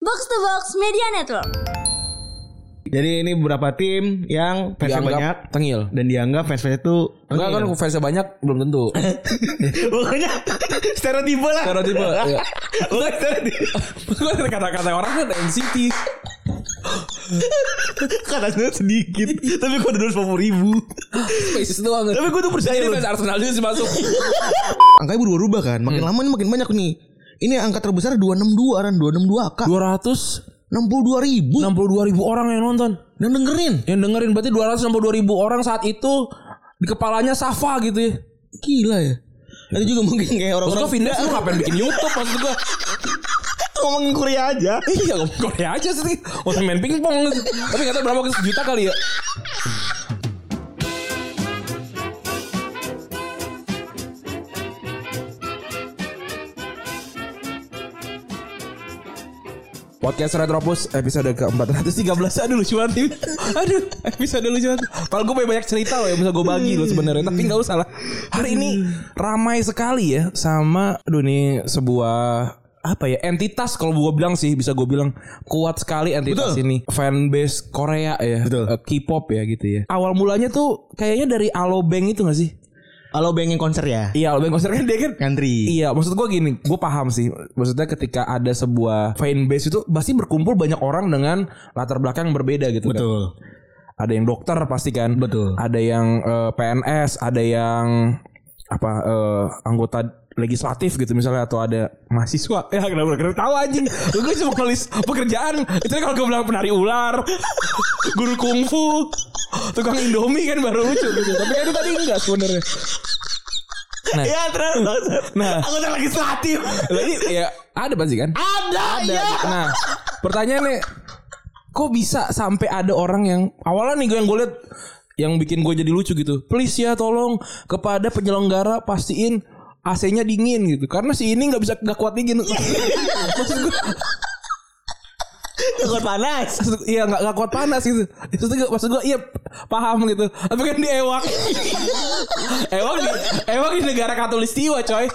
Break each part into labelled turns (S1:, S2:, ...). S1: Box to Box Media Network.
S2: Jadi ini beberapa tim yang fansnya
S3: Dianggap
S2: banyak
S3: tengil.
S2: dan dianggap fans-fansnya itu
S3: Enggak kan fansnya banyak belum tentu.
S2: pokoknya stereotipe lah.
S3: Stereotipe. ya.
S2: Bukan stereotipe.
S3: Gue dari kata-kata orang kan NCT.
S2: Katanya sedikit, tapi kok udah 250 ribu.
S3: Spaces doang.
S2: Tapi gue tuh percaya
S3: Jadi
S2: loh.
S3: fans Arsenal juga sih masuk.
S2: Angkanya berubah-ubah kan, makin lama ini makin banyak nih. Ini angka terbesar 262 kan 262 k
S3: 262
S2: 62 ribu
S3: ribu orang yang nonton.
S2: dan dengerin
S3: Yang dengerin berarti 262 ribu orang saat itu di kepalanya Safa gitu ya.
S2: gila ya itu juga mungkin kayak
S3: Maksud
S2: orang-orang
S3: gue Vindes lu ngapain bikin YouTube maksud gue.
S2: ngomongin Korea aja
S3: Iya ngomong Korea aja sih. Untuk main pingpong. Tapi kata berapa sejuta kali ya. Podcast Retropus episode ke-413 Aduh lucu banget ini. Aduh episode lucu banget Kalau gue punya banyak cerita loh yang bisa gue bagi loh sebenarnya Tapi gak usah lah Hari ini ramai sekali ya Sama aduh ini sebuah apa ya entitas kalau gue bilang sih bisa gue bilang kuat sekali entitas
S2: Betul.
S3: ini fanbase Korea ya
S2: Betul.
S3: Eh, K-pop ya gitu ya awal mulanya tuh kayaknya dari Alobank itu gak sih
S2: kalau bengeng konser ya
S3: iya Alobank konser kan dia kan
S2: ngantri
S3: Iya, maksud gue gini, gue paham sih. Maksudnya ketika ada sebuah fanbase itu pasti berkumpul banyak orang dengan latar belakang yang berbeda gitu. kan.
S2: betul
S3: Ada yang dokter pasti kan.
S2: Betul.
S3: Ada yang eh, PNS, ada yang apa eh, anggota legislatif gitu misalnya atau ada mahasiswa ya kenapa kenapa tahu anjing gue cuma nulis pekerjaan itu kalau gue bilang penari ular guru kungfu tukang indomie kan baru lucu gitu tapi kan itu tadi enggak sebenarnya
S2: ya terus
S3: Nah.
S2: aku lagi legislatif
S3: Jadi ya ada pasti kan?
S2: ada ya
S3: Nah, pertanyaannya kok bisa sampai ada orang yang awalnya nih gue yang gue liat yang bikin gue jadi lucu gitu. Please ya tolong kepada penyelenggara pastiin AC-nya dingin gitu. Karena si ini nggak bisa nggak kuat dingin. Maksud gue
S2: takut panas
S3: maksud- iya nggak nggak kuat panas gitu. Maksud gue, maksud gue iya paham gitu. Tapi kan dia ewak. ewak di, ewak di negara Katulistiwa coy.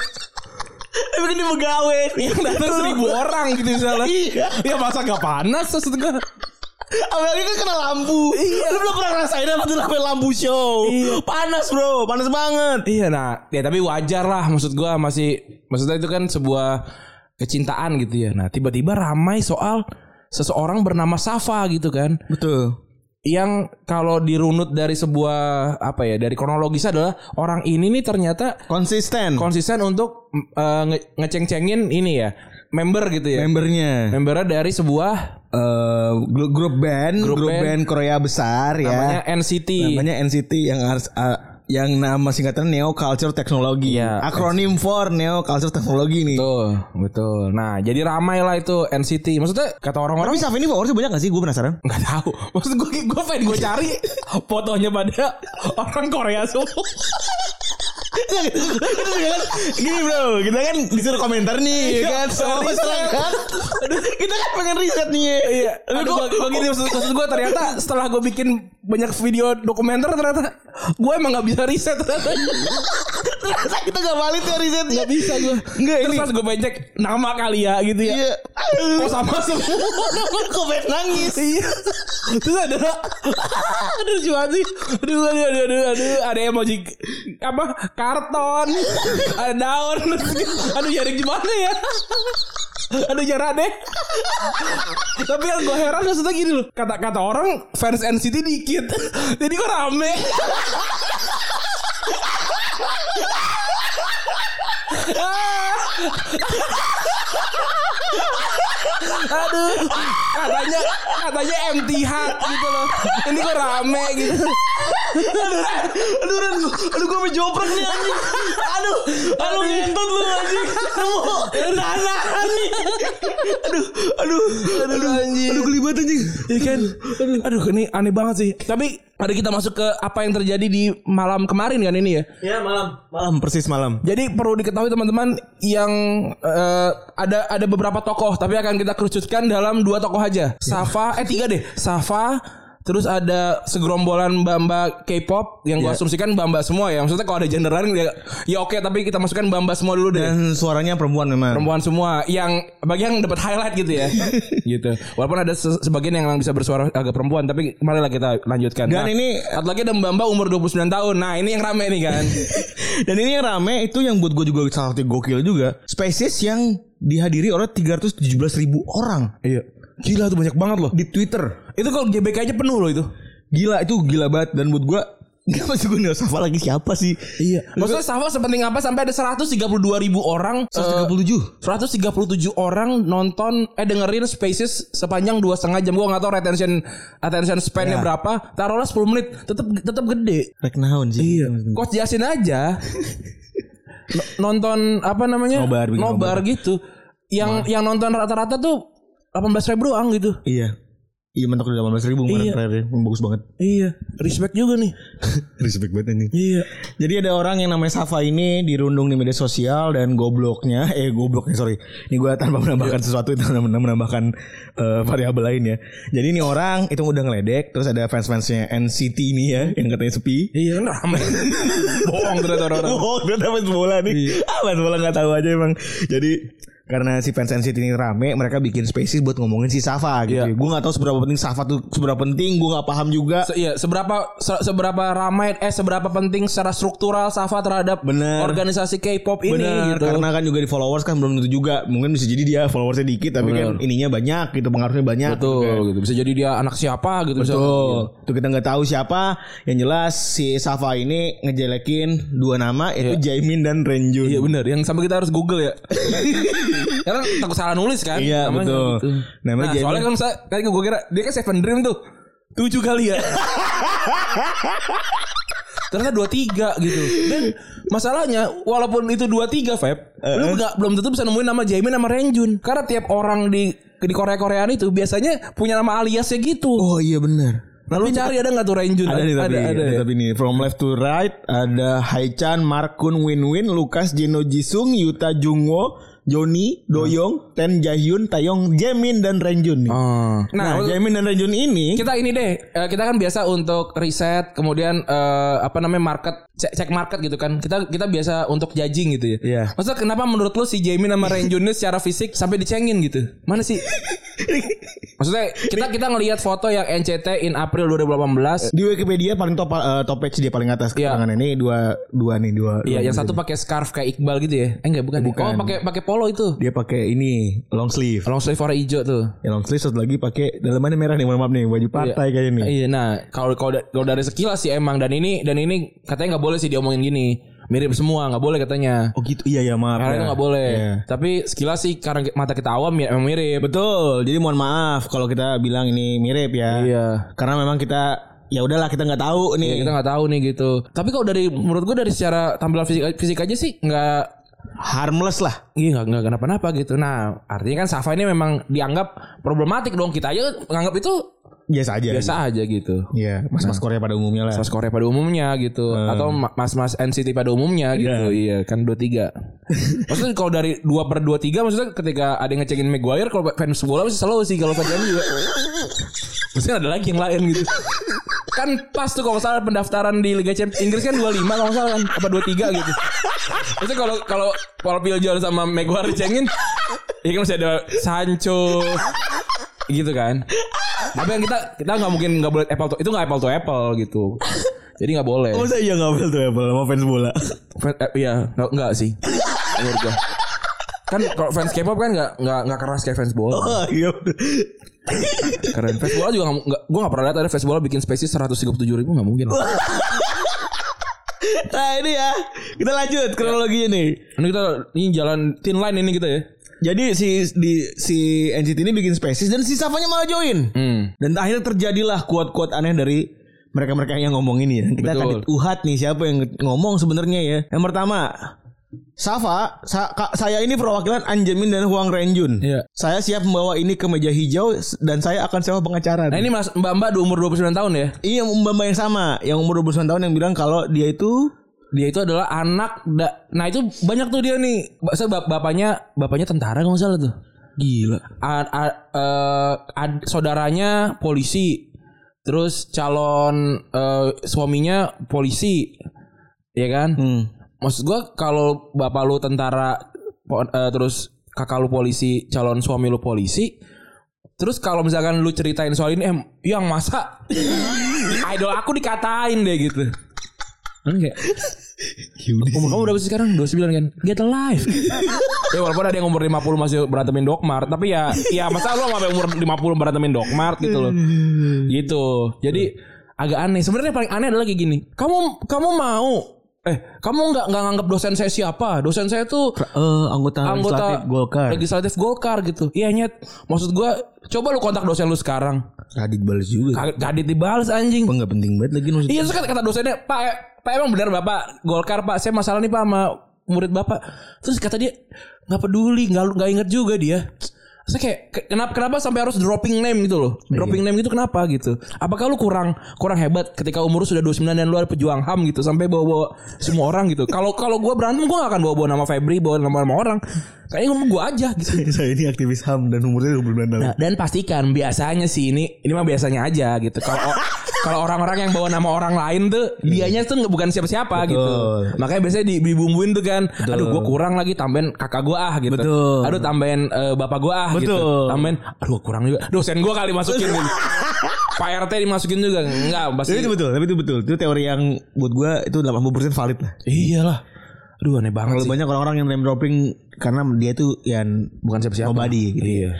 S2: tapi ini pegawai
S3: yang datang seribu orang gitu misalnya
S2: Iya.
S3: ya masa gak panas maksud gue
S2: apalagi kan kena lampu iya lu belum pernah ngerasain apa tuh namanya lampu show
S3: Iya.
S2: panas bro panas banget
S3: iya nah ya tapi wajar lah maksud gue masih maksudnya itu kan sebuah kecintaan gitu ya nah tiba-tiba ramai soal seseorang bernama Safa gitu kan
S2: betul
S3: yang kalau dirunut dari sebuah apa ya dari kronologis adalah orang ini nih ternyata
S2: konsisten
S3: konsisten untuk mm, eh, nge- ngeceng-cengin ini ya member gitu ya
S2: membernya
S3: membernya dari sebuah
S2: Eh, gru- grup band
S3: Grup
S2: grup,
S3: band.
S2: band. Korea besar ya
S3: namanya NCT
S2: namanya NCT yang harus ah, yang nama singkatan Neo Culture Technology.
S3: Iya.
S2: Akronim for Neo Culture Technology nih.
S3: Betul, betul. Nah, jadi ramai lah itu NCT. Maksudnya kata orang-orang
S2: Tapi Safi ini followersnya banyak gak sih? Gue penasaran.
S3: nggak tahu. Maksud gue, gue pengen gue cari fotonya pada orang Korea semua.
S2: Gini bro, kita kan disuruh komentar nih,
S3: Iya,
S2: ya kan? Sama
S3: riset.
S2: masyarakat. kita kan pengen riset nih. ya. Tapi
S3: Aduh,
S2: gua-
S3: gua, gua gini Iya. maksud, maksud gue ternyata setelah gue bikin banyak video dokumenter ternyata gue emang nggak bisa riset ternyata
S2: Terasa kita gak valid ya risetnya.
S3: nggak bisa gue.
S2: Nggak,
S3: Terus
S2: ini-
S3: pas gue pencet nama kali ya gitu ya.
S2: Iya.
S3: Kok sama semua nama
S2: Kok pengen nangis?
S3: Iya. Terus ada aduh lucu banget sih. Aduh aduh aduh aduh, aduh. ada emoji apa karton, ada daun. Aduh jaring gimana ya? Aduh jarak deh. Tapi yang gue heran maksudnya gini loh. Kata-kata orang fans NCT dikit. Jadi kok rame. Aduh, katanya katanya empty heart gitu loh. Ini kok rame gitu.
S2: Aduh, Ren, gua- aduh gue berjoprek nih anjing. Aduh, aduh ngentut lu anjing. Nemu tanah anjing. Aduh, aduh, aduh, aduh anjing. Aduh kelibat anjing.
S3: Iya kan? Aduh, ini aneh banget sih. Tapi ada kita masuk ke apa yang terjadi di malam kemarin kan ini ya.
S2: Ya malam, malam persis malam.
S3: Jadi perlu diketahui teman-teman yang eh, ada ada beberapa tokoh tapi akan kita kerucutkan dalam dua tokoh aja. Safa eh tiga deh. Safa, Terus ada segerombolan bamba K-pop yang gua
S2: Iya.
S3: asumsikan bamba semua ya. Maksudnya kalau ada genderan ya, ya oke tapi kita masukkan bamba semua dulu deh.
S2: Dan suaranya perempuan memang.
S3: Perempuan semua yang bagi yang dapat highlight gitu ya. gitu. Walaupun ada se- sebagian yang bisa bersuara agak perempuan tapi marilah kita lanjutkan.
S2: Dan
S3: Nah,
S2: ini-
S3: satu lagi ada Mbamba umur 29 tahun. Nah, ini yang rame nih kan.
S2: Dan ini yang rame itu yang buat gue juga salah satu gokil juga. Spesies yang dihadiri oleh 317 ribu orang
S3: iya. Gila tuh banyak banget loh.
S2: di Twitter.
S3: Itu kalau GBK aja penuh loh itu.
S2: Gila itu gila banget dan buat gue Gak masuk gue nggak sapa lagi siapa sih? kan
S3: Maksudnya Safa sepenting apa sampai ada 132 ribu
S2: Oh,
S3: orang eh,
S2: 137.
S3: 137 orang nonton eh dengerin Spaces sepanjang dua setengah jam. Gua nggak tahu retention attention span-nya
S2: Iya.
S3: berapa. Taruhlah 10 menit, tetap tetap gede.
S2: Rek naon sih?
S3: Coach Yasin aja no- nonton apa namanya?
S2: Nobar, bikin nobar.
S3: gitu. Yang yang nonton rata-rata tuh 18 ribu doang gitu.
S2: Iya. Iya mentok udah 18 ribu kemarin
S3: Iya.
S2: terakhir. Bagus banget.
S3: Iya, respect juga nih.
S2: Respect banget ini.
S3: Iya.
S2: Jadi ada orang yang namanya Safa ini dirundung di media sosial dan gobloknya, eh gobloknya sorry, ini gue tanpa menambahkan sesuatu itu menambah- menambahkan eh, variabel lain ya. Jadi ini orang itu udah ngeledek, terus ada fans-fansnya NCT ini ya yang katanya sepi.
S3: Iya kan rame. Bohong ternyata orang-orang.
S2: Oh, dia dapat bola nih. Ah, fans bola nggak tahu aja emang. Jadi karena si fans NCT ini rame, mereka bikin spaces buat ngomongin si Safa gitu.
S3: Iya.
S2: Gue nggak tahu seberapa penting Safa tuh seberapa penting, gue nggak paham juga.
S3: Se iya, seberapa se- seberapa ramai eh seberapa penting secara struktural Safa terhadap
S2: Bener.
S3: organisasi K-pop ini
S2: Bener,
S3: gitu.
S2: karena kan juga di followers kan belum tentu juga. Mungkin bisa jadi dia followersnya dikit tapi kan
S3: Bener.
S2: ininya banyak gitu, pengaruhnya banyak.
S3: Betul gitu. Bisa jadi dia anak siapa gitu
S2: Betul.
S3: misalnya.
S2: Tuh kita nggak tahu siapa. Yang jelas si Safa ini ngejelekin dua nama yaitu Jaimin dan Renjun.
S3: Iya benar, yang sampai kita harus Google ya. Karena takut salah nulis kan.
S2: Iya, betul.
S3: gitu.
S2: Namanya
S3: Nah,
S2: Jamie.
S3: soalnya kan saya kan gue kira dia kan Seven Dream tuh. Tujuh kali ya. Ternyata dua tiga gitu. Dan masalahnya walaupun itu dua tiga Feb,
S2: Eh,
S3: lu nggak belum tentu bisa nemuin nama Jamin sama Renjun. Karena tiap orang di di Korea Koreaan itu biasanya punya nama aliasnya gitu.
S2: Oh iya benar.
S3: Nah lu cari ada nggak tuh Renjun?
S2: Ada nih tapi, ada,
S3: ya?
S2: tapi nih from left to right ada Haichan, Markun, Winwin, Lukas, Jeno Jisung, Yuta Jungwo, Joni, Doyong, Ten Jaehyun, Taeyong, Jaemin dan Renjun nih. Nah,
S3: Nah,
S2: Jaemin dan Renjun ini
S3: kita ini deh eh, kita kan biasa untuk riset kemudian eh, apa namanya market cek, cek market gitu kan kita kita biasa untuk judging gitu ya
S2: Iya.
S3: maksudnya kenapa menurut lu si Jamie sama Renjun ini secara fisik sampai dicengin gitu mana sih maksudnya kita kita ngelihat foto yang NCT in April 2018
S2: di Wikipedia paling top eh, top page dia paling atas
S3: Iya.
S2: keterangan ini dua dua nih dua.
S3: Iya,
S2: dua
S3: yang
S2: gitu.
S3: satu pakai scarf kayak Iqbal gitu ya. Eh enggak bukan. ya.
S2: Bukan.
S3: Oh, pakai pakai polo itu.
S2: dia pakai ini long sleeve.
S3: Long sleeve warna hijau tuh.
S2: Ya, long sleeve satu lagi pakai dalamannya merah nih, mohon maaf nih, baju partai kayak ini.
S3: Iya, nah kalau kalau da- kalau dari sekilas sih emang dan ini dan ini katanya nggak boleh sih diomongin gini. Mirip semua, nggak boleh katanya.
S2: Oh gitu, iya ya maaf.
S3: Karena
S2: ya.
S3: itu nggak boleh.
S2: Iya.
S3: Tapi sekilas sih karena mata kita awam ya emang mirip.
S2: Betul, jadi mohon maaf kalau kita bilang ini mirip ya.
S3: Iya.
S2: Karena memang kita ya udahlah kita nggak tahu
S3: Ya,
S2: nih.
S3: kita nggak tahu nih gitu. Tapi kalau dari menurut gua dari secara tampilan fisik, fisik aja sih nggak
S2: Harmless lah.
S3: Iya nggak nggak kenapa-napa gitu. Nah artinya kan Safa ini memang dianggap problematik dong kita aja nganggap itu
S2: Biasa aja.
S3: biasa aja gitu.
S2: Iya, mas-mas Korea pada umumnya lah.
S3: Mas Korea pada umumnya gitu
S2: Ah.
S3: atau ma- mas-mas NCT pada umumnya gitu. Iya kan 23. maksudnya kalau dari 2 per 23 maksudnya ketika ada yang ngecekin Maguire kalau fans bola masih selalu sih kalau fans MU juga. maksudnya ada lagi yang lain gitu. kan pas tuh kalau nggak salah pendaftaran di Liga Champions Inggris kan 25 kalau nggak salah kan apa 23 gitu. Maksudnya kalau kalau Paul Piljon sama Maguire dicengin ya kan masih ada Sancho gitu kan tapi yang kita kita nggak mungkin nggak boleh apple to itu nggak apple to apple gitu jadi nggak boleh
S2: Masa iya nggak apple tuh apple sama fans bola?
S3: Fan- eh, iya nggak nggak sih menurut gua kan kalau fans K-pop kan nggak nggak nggak keras kayak fans bola
S2: Oh, iya.
S3: keren fans bola juga nggak nggak gue nggak pernah lihat ada fans bola bikin spesies seratus tiga ribu nggak mungkin
S2: Nah ini ya, kita lanjut kronologinya nih.
S3: ini kita ini jalan thin line ini kita ya
S2: Jadi si di si NCT ini bikin spesies dan si Safanya malah join.
S3: hmm.
S2: Dan akhirnya terjadilah kuat-kuat aneh dari mereka-mereka yang ngomong ini ya. Kita akan
S3: Betul.
S2: diuhat nih siapa yang ngomong sebenarnya ya. Yang pertama, Safa, sa- ka- saya ini perwakilan Anjamin dan Huang Renjun.
S3: Iya.
S2: Saya siap membawa ini ke meja hijau s- dan saya akan sewa pengacara.
S3: nah ini mas mbak mbak di umur 29 tahun ya
S2: Iya, Mbak yang sama, yang umur 29 tahun yang bilang kalau dia itu
S3: dia itu adalah anak da- nah itu banyak tuh dia nih Ba- so, bap- bapaknya bapaknya tentara kalau nggak salah tuh
S2: gila.
S3: A- a- eh, ad- saudaranya polisi Terus calon eh, suaminya polisi, ya kan?
S2: Hmm.
S3: Maksud gua kalau bapak lu tentara po- eh, terus kakak lu polisi, calon suami lu polisi, terus kalau misalkan lu ceritain soal ini em yang masa idol aku dikatain deh gitu. Enggak. Umur kamu berapa sih sekarang? 29 kan? Get a life. ya walaupun ada yang umur 50 masih berantemin dokmar, tapi ya ya masa lu sampai umur 50 berantemin dokmar gitu loh. Gitu. Jadi agak aneh. Sebenarnya yang paling aneh adalah kayak gini. Kamu kamu mau eh kamu nggak nggak nganggap dosen saya siapa? Dosen saya tuh
S2: Eh, anggota,
S3: anggota
S2: legislatif Golkar.
S3: Legislatif Golkar gitu. Iya nyet. Maksud gua coba lu kontak dosen lu sekarang.
S2: Radit balas juga.
S3: Kaget gadit dibales anjing.
S2: Enggak penting banget lagi maksudnya.
S3: Iya terus kata, kata dosennya Pak eh, Pak emang benar bapak Golkar pak Saya masalah nih pak sama murid bapak Terus kata dia nggak peduli nggak nggak inget juga dia Terus kayak ke- kenapa kenapa sampai harus dropping name gitu loh Dropping name gitu kenapa gitu Apakah lu kurang kurang hebat ketika umur lu sudah 29 dan lu ada pejuang HAM gitu Sampai bawa-bawa semua orang gitu Kalau kalau gue berantem gue gak akan bawa-bawa nama Febri Bawa nama-nama orang Kayaknya ngomong gue aja gitu
S2: Saya ini aktivis HAM dan umurnya 29 tahun.
S3: Nah, dan pastikan biasanya sih ini ini mah biasanya aja gitu. Kalau o- kalau orang-orang yang bawa nama orang lain tuh dianya tuh nggak- bukan siapa-siapa gitu. Makanya biasanya di- dibumbuin tuh kan. Aduh gua kurang lagi tambahin kakak gua ah gitu.
S2: Betul.
S3: Aduh tambahin eh, bapak gua ah gitu.
S2: Betul.
S3: Tambahin aduh kurang juga. Dosen gua kali masukin gitu. Pak RT dimasukin juga enggak pasti.
S2: Tapi itu betul, tapi itu betul. Itu teori yang buat gua itu 80% valid lah.
S3: Iyalah. Aduh aneh banget
S2: Terlalu
S3: sih.
S2: banyak orang-orang yang name dropping karena dia tuh yang
S3: Bukan siapa-siapa.
S2: Nobody gitu.
S3: Iya.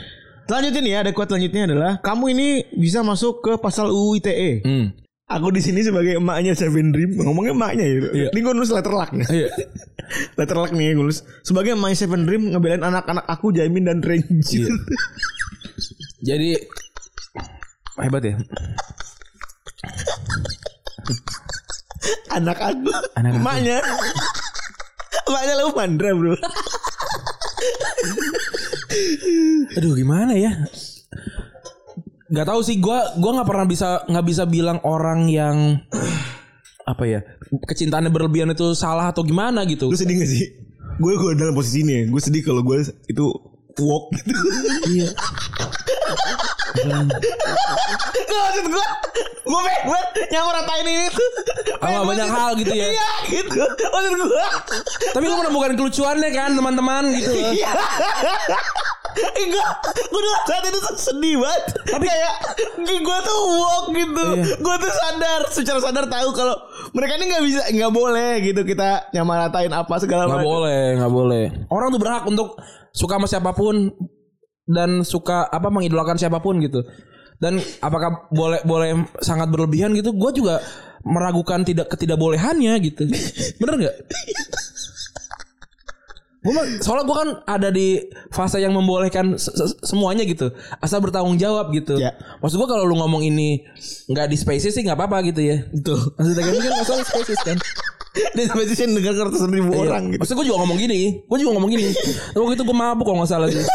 S2: Lanjutin ya, ada kuat selanjutnya adalah kamu ini bisa masuk ke pasal UU ITE.
S3: Hmm.
S2: E." Aku di sini sebagai emaknya Seven Dream, ngomongnya emaknya ya. Ini gue nulis letter luck nih.
S3: Iya.
S2: letter luck nih gue nulis. Sebagai emaknya Seven Dream ngebelain anak-anak aku Jamin dan
S3: Iya.
S2: Ranger.
S3: Jadi hebat ya.
S2: anak aku.
S3: Anak aku.
S2: emaknya. emaknya lu mandra, Bro.
S3: Aduh gimana ya? Gak tahu sih gua gua nggak pernah bisa nggak bisa bilang orang yang apa ya kecintaannya berlebihan itu salah atau gimana gitu.
S2: Lu sedih gak sih? Gue gue dalam posisi ini, gue sedih kalau gue itu walk gitu.
S3: Iya.
S2: Gak maksud gue Gue pengen banget yang meratain ini tuh
S3: Sama banyak hal gitu ya.
S2: Iya gitu Maksud gue
S3: Tapi lu menemukan kelucuannya kan teman-teman gitu. loh.
S2: Iya Enggak Gue udah saat itu tuh sedih banget Tapi kayak Gue tuh walk gitu
S3: Iya.
S2: Gue tuh sadar Secara sadar tahu kalau Mereka ini gak bisa Gak boleh gitu Kita nyamaratain apa segala
S3: Nggak boleh, nggak boleh. Orang tuh berhak untuk suka sama siapapun dan suka apa mengidolakan siapapun gitu. Dan apakah boleh boleh sangat berlebihan gitu? Gue juga meragukan tidak ketidakbolehannya gitu. Bener nggak? Gua mah- soalnya gue kan ada di fase yang membolehkan se- se- semuanya gitu asal bertanggung jawab gitu
S2: Ya.
S3: maksud gue kalau lu ngomong ini nggak di spaces sih nggak apa-apa gitu ya
S2: Betul
S3: maksudnya kan nggak soal spaces kan
S2: Dan sampai sini dengar ratusan ribu
S3: Iya.
S2: orang gitu
S3: Maksudnya gue juga ngomong gini, gue juga ngomong gini. Tapi Waktu itu gue mabuk kalau nggak salah sih.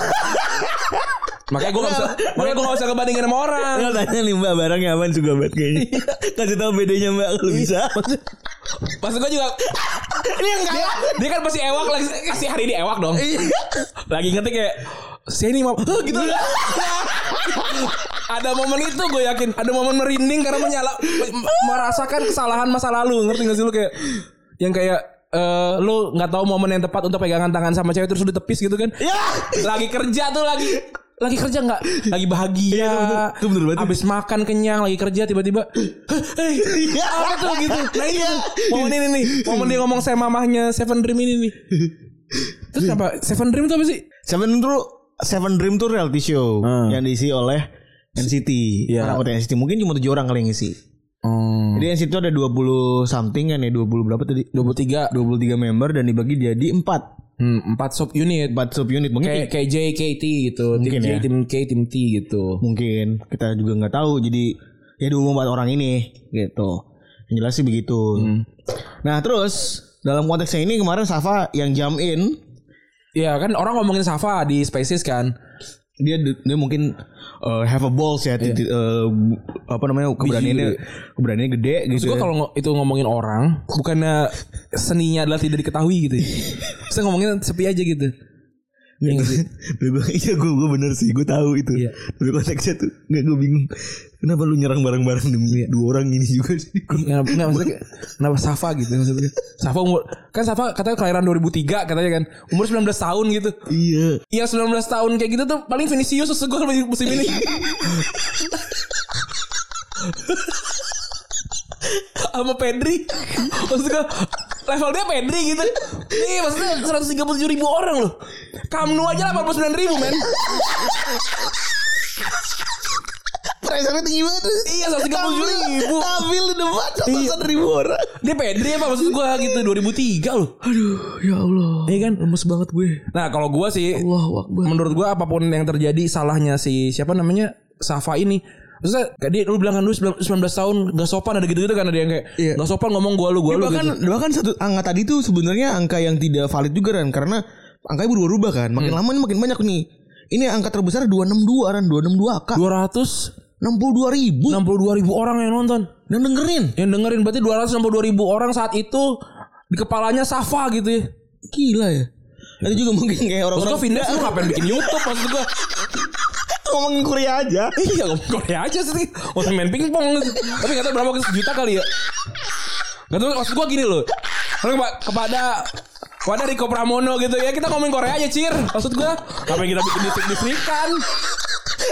S3: makanya gue nggak bisa, makanya gue nggak bisa kebandingin sama orang.
S2: Tinggal tanya nih mbak barangnya apaan juga banget kayaknya Kasih tau bedanya mbak kalau bisa
S3: Maksud gue juga,
S2: Ini yang kalah
S3: dia kan pasti ewak lagi, kasih hari ini ewak dong.
S2: Iya
S3: Lagi ngetik kayak, saya ini mabuk, Hah, gitu. ada momen itu gue yakin, ada momen merinding karena menyala, merasakan kesalahan masa lalu. Ngerti gak sih lu kayak, yang kayak eh, lu nggak tahu momen yang tepat untuk pegangan tangan sama cewek terus lu ditepis gitu kan?
S2: Ya
S3: lagi kerja tuh lagi lagi kerja nggak lagi bahagia
S2: Iya, itu bener. Itu bener banget.
S3: abis makan kenyang lagi kerja tiba-tiba "Hei,
S2: Iya.
S3: apa tuh gitu nah ini
S2: Iya.
S3: tuh, momen ini nih momen dia ngomong saya mamahnya Seven Dream ini nih terus apa Seven Dream itu apa sih
S2: Seven Dream Seven Dream tuh reality show
S3: Hmm.
S2: yang diisi oleh NCT.
S3: Iya.
S2: Anak kota NCT mungkin cuma 7 orang kali yang ngisi.
S3: Hmm.
S2: Jadi NCT itu ada 20 something kan ya 20 berapa tadi?
S3: 23
S2: 23 member dan dibagi jadi 4
S3: hmm, 4 sub unit
S2: 4 sub unit mungkin
S3: kayak kayak J KT gitu tim
S2: Mungkin
S3: J
S2: ya.
S3: tim K tim T gitu
S2: mungkin kita juga nggak tahu jadi ya 24 orang ini gitu. Yang jelas sih begitu.
S3: Hmm.
S2: Nah, terus dalam konteksnya ini kemarin Safa yang jump in
S3: ya kan orang ngomongin Safa di Spaces kan
S2: dia dia mungkin uh, have a balls ya
S3: Iya.
S2: titik, uh, apa namanya keberaniannya keberaniannya gede
S3: ya. Maksud
S2: gitu.
S3: gue
S2: ya.
S3: kalau ngo- itu ngomongin orang Bukannya seninya adalah tidak diketahui gitu ya Saya ngomongin sepi aja gitu Iya nggak sih?
S2: Gue bilang iya gue gue bener sih gue tahu itu.
S3: Iya.
S2: Tapi konteksnya tuh nggak gue bingung. Kenapa lu nyerang bareng-bareng demi dua orang ini juga sih?
S3: Iya, Kenapa, enggak, maksudnya kayak, kenapa Safa gitu maksudnya. Safa umur kan Safa katanya kelahiran 2003 katanya kan. Umur 19 tahun gitu.
S2: iya.
S3: Yang 19 tahun kayak gitu tuh paling Vinicius sesegol musim ini. Sama Pedri. Maksudnya levelnya Pedri gitu. Nih maksudnya 137 ribu orang loh. Kamu aja 89 ribu men.
S2: Pressure tinggi banget.
S3: Iya 137 ribu. Iya.
S2: Ambil di depan ratusan ribu orang.
S3: Dia Pedri apa maksud gue gitu 2003 loh.
S2: Aduh ya Allah.
S3: Iya kan?
S2: Lemes banget gue.
S3: Nah kalau gue sih
S2: Allah wakbar.
S3: menurut gua apapun yang terjadi salahnya si siapa namanya Safa ini Maksudnya kayak dia lu bilang kan lu 19 tahun gak sopan ada gitu-gitu kan ada yang kayak
S2: Iya.
S3: gak sopan ngomong gua lu gua lu
S2: bahkan
S3: gitu.
S2: bahkan satu angka tadi tuh sebenarnya angka yang tidak valid juga kan karena angkanya berubah-ubah kan. Makin lama ini makin banyak nih. Ini angka terbesar 262 kan 262 k
S3: 262
S2: 62 ribu
S3: ribu orang yang nonton
S2: dan dengerin
S3: yang dengerin berarti 262 ribu orang saat itu di kepalanya Safa gitu ya.
S2: gila ya ada juga mungkin kayak
S3: Maksud
S2: orang-orang
S3: gua Vindes lu ngapain bikin YouTube maksud gua.
S2: ngomongin Korea aja
S3: Iya ngomong Korea aja sih Mau main pingpong Tapi gak tau berapa juta kali ya Gak tau maksud gue gini loh Lalu kepa- kepada Kepada Rico Pramono gitu ya Kita ngomongin Korea aja Cir Maksud gue Apa yang kita bikin distrik-distrikan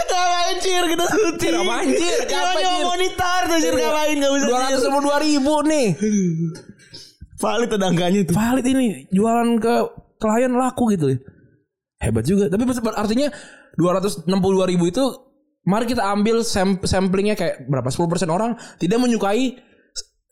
S2: ngapain cir kita suci
S3: Cir apaan Cir
S2: Cuma
S3: Kapan,
S2: cuma
S3: Cir?
S2: monitor tuh cir ngapain gak bisa Cir.
S3: 252 ribu nih
S2: valid ada angkanya tuh
S3: Valid ini Jualan ke klien laku gitu ya Hebat juga Tapi maksud- artinya 262 ribu itu Mari kita ambil sam- samplingnya kayak berapa 10% orang tidak menyukai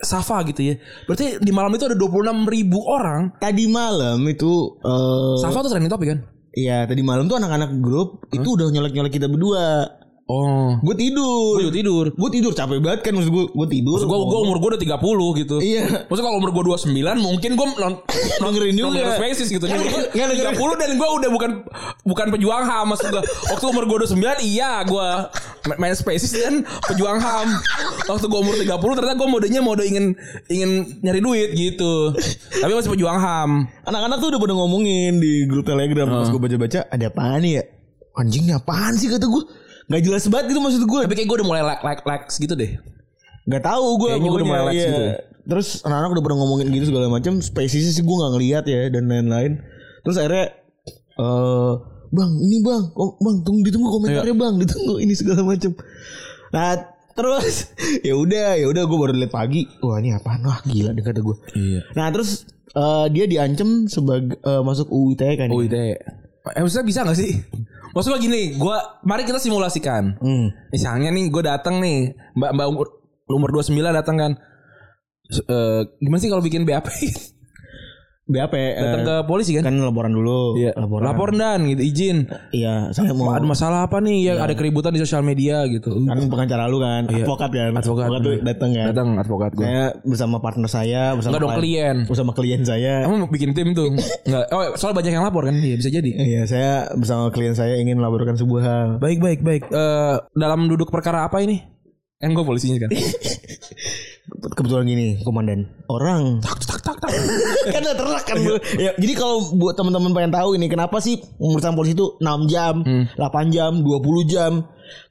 S3: Safa gitu ya Berarti di malam itu ada 26 ribu orang
S2: tadi malam itu eh
S3: Safa tuh trending topik kan
S2: ya tadi malam tuh anak-anak grup itu udah nyolek-nyolek kita berdua
S3: Oh
S2: gue tidur
S3: Gue juga tidur
S2: gue tidur capek banget kan maksud gue gue tidur
S3: Gue gua umur gue udah 30 gitu
S2: Iya.
S3: Maksudnya kalau umur gue 29 mungkin gue non,
S2: Dengerin juga.
S3: Spaces gitu Jadi gua 30 dan gue udah bukan bukan pejuang HAM maksud gue Waktu umur gue 29 iya gue main Spaces dan pejuang HAM Waktu gue umur 30 ternyata gue modenya mode ingin ingin nyari duit gitu Tapi masih pejuang HAM
S2: anak-anak tuh udah pada ngomongin di grup telegram pas gue baca-baca ada apaan ya anjingnya apaan sih kata gue nggak jelas banget gitu maksud gue
S3: Tapi kayak gue udah mulai like like like gitu deh
S2: nggak tahu gue
S3: Kayaknya udah
S2: pokoknya,
S3: mulai relax
S2: iya.
S3: gitu ya.
S2: terus anak-anak udah pada ngomongin gitu segala macam spesiesnya sih gue nggak ngeliat ya dan lain-lain terus akhirnya eh bang ini bang oh, bang tunggu ditunggu komentarnya
S3: Iya.
S2: bang ditunggu ini segala macam nah terus ya udah ya udah gue baru lihat pagi wah ini apaan wah gila deh kata gue
S3: Iya
S2: nah terus eh, dia diancam sebagai eh, masuk UU ITE kan
S3: Oh ide Eh maksudnya bisa gak sih? Maksudnya gini gua, Mari kita simulasikan
S2: Hmm.
S3: Misalnya nih gue datang nih Mbak Mbak umur umur 29 datang kan. S- eh, gimana sih kalau bikin BAP?
S2: BAP
S3: datang ke
S2: eh,
S3: polisi kan?
S2: kan laporan dulu
S3: Laporan.
S2: laporan
S3: Lapor dan gitu izin.
S2: iya saya mau
S3: Ada masalah apa nih? Ya ada keributan di sosial media gitu.
S2: Iya. kan pengacara lu kan advokat kan
S3: Iya. Advokat,
S2: tuh
S3: bener.
S2: datang kan
S3: Datang advokat gue.
S2: saya bersama partner saya bersama
S3: Enggak dong klien.
S2: bersama klien saya
S3: Emang mau bikin tim tuh. Enggak. Oh, soal banyak yang lapor kan? Iya, bisa jadi.
S2: iya saya bersama klien saya ingin melaporkan sebuah hal
S3: Baik, baik, baik. Eh dalam duduk perkara apa ini? Yang gue polisinya kan.
S2: kebetulan gini komandan orang
S3: tak tak tak tak.
S2: kan udah terak kan Bu. ya, jadi kalau buat teman-teman pengen tahu ini kenapa sih urusan polisi itu 6 jam
S3: Hmm.
S2: 8 jam 20 jam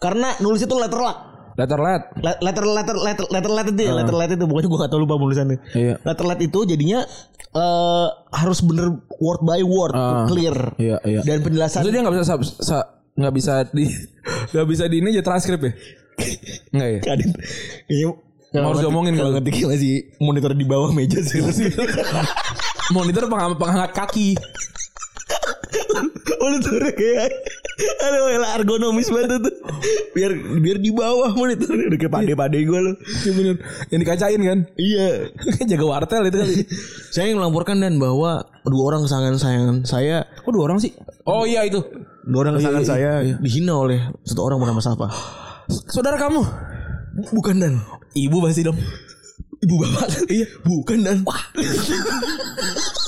S2: karena nulis itu letter luck
S3: Letter let.
S2: Le- letter letter letter letter letter deh, letter letter itu pokoknya gue gak tau lupa penulisannya
S3: Iya.
S2: letter letter itu jadinya eh harus bener word by word
S3: Ah.
S2: clear
S3: Iya, iya.
S2: dan penjelasan
S3: Maksudnya dia nggak bisa sub- sa- nggak bisa di nggak bisa di ini aja transkrip ya? Nggak ya?
S2: Kadin. Kayaknya
S3: Harus
S2: ngetik-
S3: diomongin
S2: kalau
S3: kalau-
S2: ngetik masih monitor di bawah meja sih.
S3: Monitor pengha- penghangat kaki.
S2: Monitornya kayak aduh elah ergonomis banget tuh. Biar biar di bawah monitornya udah kayak pade-pade gue lo.
S3: Iya bener. Yang dikacain kan?
S2: Iya.
S3: Jaga wartel itu kali.
S2: Saya ingin melaporkan dan bahwa dua orang kesayangan sayangan saya
S3: Kok dua orang sih? Oh iya itu.
S2: dua orang kesayangan
S3: Iya, iya,
S2: saya dihina oleh satu orang bernama Safa.
S3: Saudara kamu.
S2: Bukan dan
S3: Ibu pasti dong.
S2: ibu bapak. Iya, bukan dan.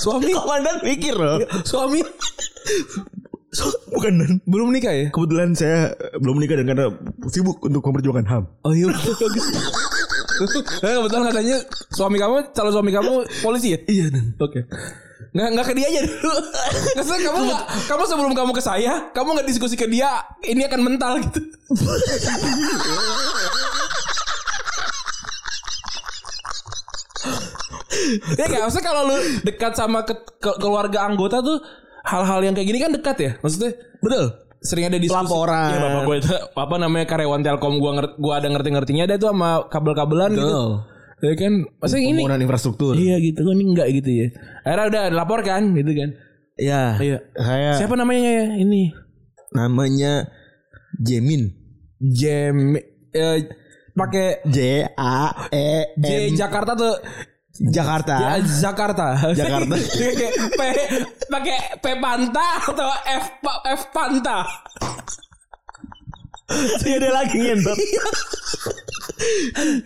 S3: Suami. Iya.
S2: Komandan mikir loh.
S3: Suami
S2: So- bukan dan.
S3: belum nikah ya?
S2: Kebetulan saya eh, belum menikah dan karena sibuk untuk memperjuangkan HAM.
S3: Oh iya bagus. Nah, kebetulan katanya suami kamu, calon suami kamu polisi ya?
S2: Iya dan.
S3: Oke. Nggak, nggak ke dia aja dulu. Maksudnya kamu nggak- kamu sebelum kamu ke saya, kamu nggak diskusi ke dia, ini akan mental gitu. ya nggak, maksudnya kalau lu dekat sama ke, ke- keluarga anggota tuh hal-hal yang kayak gini kan dekat ya, maksudnya betul. Sering ada diskusi.
S4: Laporan.
S3: Iya, bapak gue itu apa namanya karyawan Telkom gua ngerti, gua ada ngerti-ngertinya ada tuh sama kabel-kabelan gitu.
S2: Oh.
S4: Betul.
S3: Ya kan, maksudnya ini
S4: Pembangunan infrastruktur.
S3: Iya gitu kan ini enggak gitu ya. Akhirnya udah lapor kan gitu kan.
S4: Iya.
S3: Iya.
S4: Saya
S3: Siapa namanya ya ini?
S4: namanya Jemin.
S3: Jem eh, pakai
S4: J A E
S3: J
S4: M
S3: Jakarta tuh
S4: Jakarta.
S3: Ah, Jakarta.
S4: Jakarta.
S3: Kayak P pakai P Panta atau F Pa- F Panta.
S4: Tidak ada lagi kan, ngentot.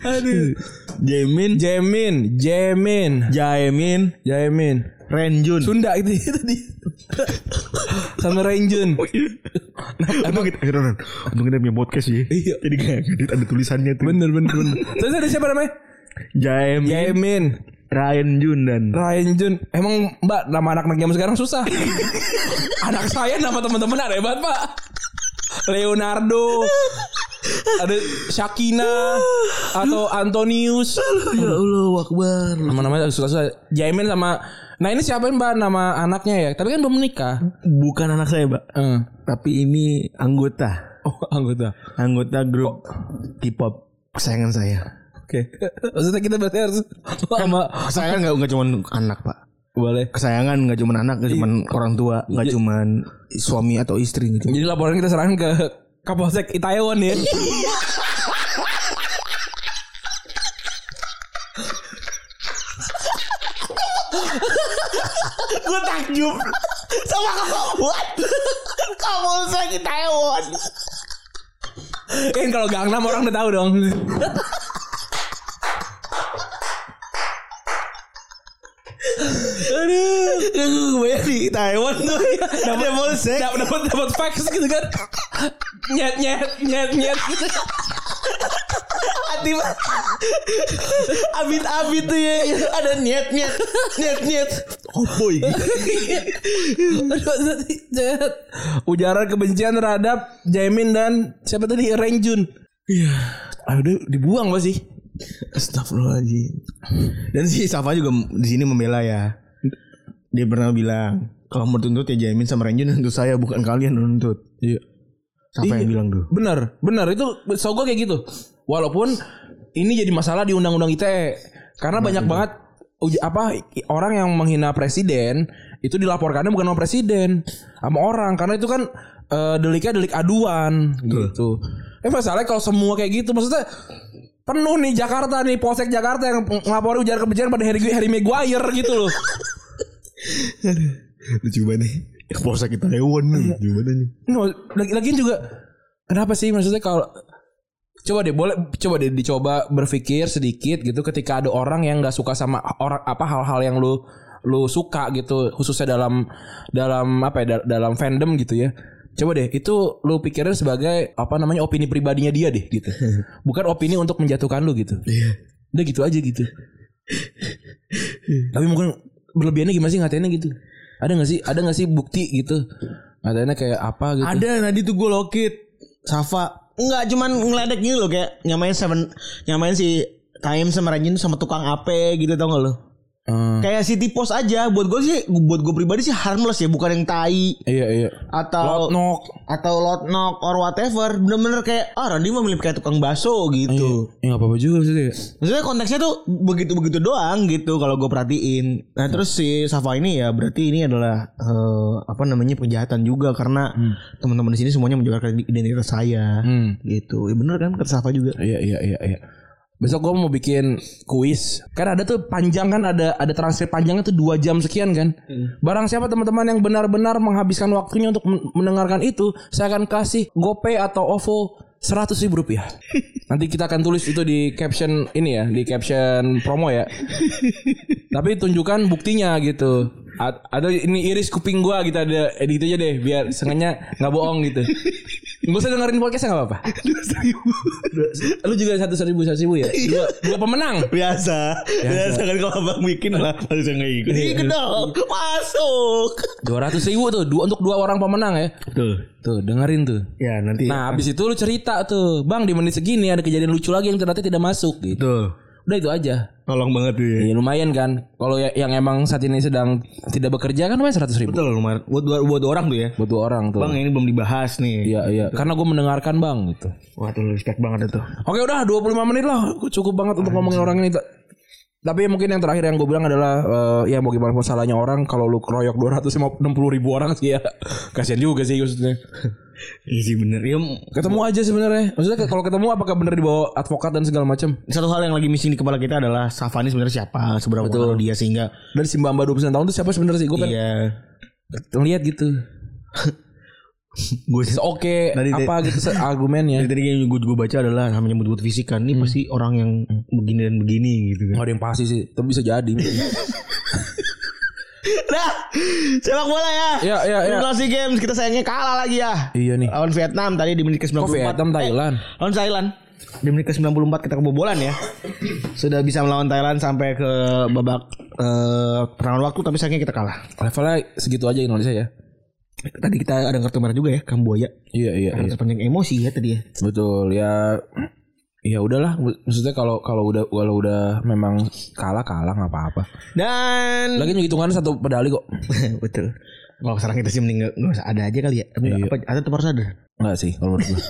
S3: Aduh.
S4: Jemin,
S3: Jemin, Jemin,
S4: Jaimin,
S3: Jemin.
S4: Renjun.
S3: Sunda itu itu tadi. Sama Renjun.
S2: Untung kita, Ron, untung kita punya podcast ya.
S3: Iya.
S2: Jadi kayak edit ada tulisannya tuh.
S3: Bener bener bener. Terus ada siapa namanya?
S2: Jaem,
S3: Jemin.
S2: Ryan Jun dan
S3: Ryan Jun Emang mbak Nama anak-anak zaman sekarang susah Anak saya nama teman-teman ada hebat pak Leonardo Ada Shakina Atau Antonius
S4: Ya Allah, Akbar.
S3: Nama-namanya susah-susah Jaimin sama Nah ini siapa mbak nama anaknya ya Tapi kan belum menikah
S2: bukan anak saya, Pak.
S3: Eh.
S2: Tapi ini anggota,
S3: Oh anggota
S2: anggota grup K-pop kesayangan saya.
S3: Oke Maksudnya kita berarti harus sama
S2: Oh, Kesayangan nggak nggak cuma anak, Pak.
S3: Boleh
S2: Kesayangan nggak cuma anak, nggak cuma orang tua, nggak cuma suami atau istri gitu.
S3: Jadi laporan kita serahkan ke Kapolsek Itaewon ya.
S4: Gue takjub sama kawan. Kamu sakit Taiwan.
S3: Kan kalau Gangnam orang udah tahu dong. Aduh,
S4: Gue bayar di Taiwan tuh.
S3: ya.
S4: Ada polsek.
S3: dapat dapat dapat fax gitu kan. Nyet nyet nyet nyet. gitu.
S4: Hati Abit-abit tuh ya. Ada nyet-nyet. Nyet-nyet. Oh boy.
S3: Aduh, nyet. Ujaran kebencian terhadap Jamin dan siapa tadi Renjun. Iya. Aduh, dibuang pasti.
S2: Astagfirullahaladzim. Dan si Safa juga di sini membela ya. Dia pernah bilang kalau mau tuntut ya Jamin sama Renjun nuntut saya bukan kalian yang nuntut. Iya. Safa yang
S3: Iya.
S2: bilang tuh.
S3: Bener, bener itu so gue kayak gitu. Walaupun ini jadi masalah di undang-undang ITE karena banyak banget uj- apa i- orang yang menghina presiden itu dilaporkannya bukan sama presiden sama orang karena itu kan eh, deliknya delik aduan gitu. Eh masalahnya kalau semua kayak gitu maksudnya penuh nih Jakarta nih Polsek Jakarta yang ng- ngelaporin ujaran kebencian pada Harry, Harry Maguire gitu loh.
S2: Lucu banget nih. Ya, Polsek kita hewan nih. Gimana nih?
S3: No, lagi lagian juga kenapa sih maksudnya kalau coba deh boleh coba deh dicoba berpikir sedikit gitu ketika ada orang yang nggak suka sama orang apa hal-hal yang lu lu suka gitu khususnya dalam dalam apa ya da- dalam fandom gitu ya coba deh itu lu pikirin sebagai apa namanya opini pribadinya dia deh gitu bukan opini untuk menjatuhkan lu gitu udah gitu aja gitu tapi mungkin berlebihannya gimana sih ngatainnya gitu ada nggak sih ada nggak sih bukti gitu ngatainnya kayak apa gitu
S4: Ada tadi tuh gue lokit Safa Enggak cuman ngeledek gini loh kayak Nyamain seven Nyamain si Kaim sama Ranjin sama tukang AP gitu tau gak lo
S3: Hmm.
S4: Kayak si tipos aja Buat gue sih Buat gue pribadi sih harmless ya Bukan yang tai
S3: Iya iya.
S4: Atau
S3: Lotnok.
S4: Atau lotnok Or whatever Bener-bener kayak Ah Randy mah mirip kayak tukang baso gitu
S3: Ya nggak apa-apa juga sih.
S4: Maksudnya konteksnya tuh begitu-begitu doang gitu kalau gue
S3: Hmm.
S4: perhatiin. Nah terus si Safa ini ya berarti ini adalah eh, apa namanya penjahatan juga karena teman-teman di sini semuanya menjaga identitas saya
S3: Hmm.
S4: gitu. Ya bener kan kata Safa juga.
S3: Iya iya iya iya. Besok gua mau bikin kuis. Kan ada tuh panjang kan ada ada transkrip panjangnya tuh dua jam sekian kan. Barang siapa teman-teman yang benar-benar menghabiskan waktunya untuk men- mendengarkan itu, saya akan kasih GoPay atau OVO seratus ribu rupiah. Nanti kita akan tulis itu di caption ini ya, di caption promo ya. Tapi tunjukkan buktinya gitu. A- Ada ini iris kuping gua gitu ada edit aja deh biar sengaja nggak bohong gitu. Gak usah dengerin podcastnya gak apa-apa Lu juga satu seribu satu seribu
S4: Iya.
S3: ya Dua, dua pemenang
S2: Biasa. Biasa kan kalau abang bikin lah harus gitu. nggak ikut. Ikut dong. Masuk.
S3: Dua ratus ribu tuh dua, Untuk dua orang pemenang ya
S4: Tuh.
S3: Tuh dengerin tuh
S4: Ya nanti.
S3: Nah abis itu lu cerita tuh Bang di menit segini ada kejadian lucu lagi yang ternyata tidak masuk gitu
S4: Tuh.
S3: Udah itu aja
S4: Tolong banget tuh. ya.
S3: Ya lumayan kan Kalau ya- yang emang saat ini sedang tidak bekerja kan lumayan seratus ribu
S4: Betul lumayan. Buat dua, buat dua orang tuh ya.
S3: Buat dua orang tuh
S4: Bang ini belum dibahas nih.
S3: Iya iya Karena gue mendengarkan bang gitu
S4: Wah tuh respect banget itu.
S3: Oke udah 25 menit lah Cukup banget untuk ngomongin orang ini Tapi mungkin yang terakhir yang gue bilang adalah eh, Ya bagaimanapun salahnya orang Kalau lu keroyok 260 ribu orang sih ya Kasian juga sih maksudnya
S4: Iya sih bener. Ya, m-
S3: Ketemu aja sebenarnya Maksudnya ke- kalau ketemu apakah bener dibawa advokat dan segala macam
S4: satu hal yang lagi missing di kepala kita adalah Safani sebenarnya siapa, seberapa pengaruh dia sehingga
S3: Dari si mbak-mbak 29 tahun tuh siapa sebenarnya sih Gue pengen
S4: iya.
S3: ngeliat gitu
S4: Gue
S3: It's okay
S4: Tadi-
S3: Apa gitu se- argumennya
S4: dari tadi yang gue juga baca adalah hanya menyebut fisik kan. Ini pasti orang yang begini dan begini gitu kan.
S3: Gak ada yang pasti sih Tapi bisa jadi
S4: Nah, sepak bola ya.
S3: Ya, ya, ya.
S4: Regulasi games kita sayangnya kalah lagi ya.
S3: Iya nih
S4: Lawan Vietnam tadi di menit
S3: Kok
S4: ke-94.
S3: Vietnam Thailand
S4: Lawan Thailand. Di menit ke-94 kita kebobolan ya. Sudah bisa melawan Thailand sampai ke babak eh perlawan waktu tapi sayangnya kita kalah.
S3: Levelnya segitu aja Indonesia ya
S4: Tadi kita ada kartu merah juga ya, Kambuaya.
S3: Iya iya iya
S4: Karena terpanjang emosi ya tadi ya.
S3: Betul ya ya udahlah maksudnya kalau kalau udah kalau udah memang kalah kalah nggak apa-apa.
S4: Dan
S3: Lagi hitungan satu pedali kok.
S4: betul. Kalau sekarang kita sih mending nggak- nggak usah ada aja kali ya. Tapi apa ada tetap harus ada.
S3: Enggak sih kalau menurut gue.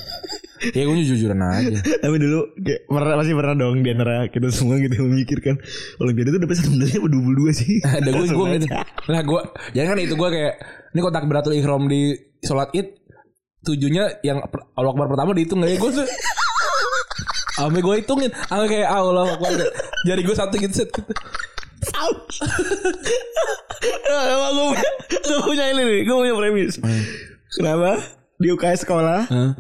S3: ya gue jujuran aja.
S4: Tapi dulu kayak pernah masih pernah dong di antara kita semua gitu memikirkan Olimpiade itu dapat satu medali apa double dua sih?
S3: Ada gue gue gitu.
S4: Langsung aja.
S3: Lah gue jangan kan itu gue kayak ini kotak beratul ikhram di sholat id tujuhnya yang per- Allah Akbar pertama dihitung gak ya gue tuh Ame gue hitungin Ame kayak Allah Akbar Jari gue satu gitu set gitu.
S4: Emang gue Nah, punya, gue punya ini nih, gue punya premis. Kenapa di UKS sekolah
S3: Hah?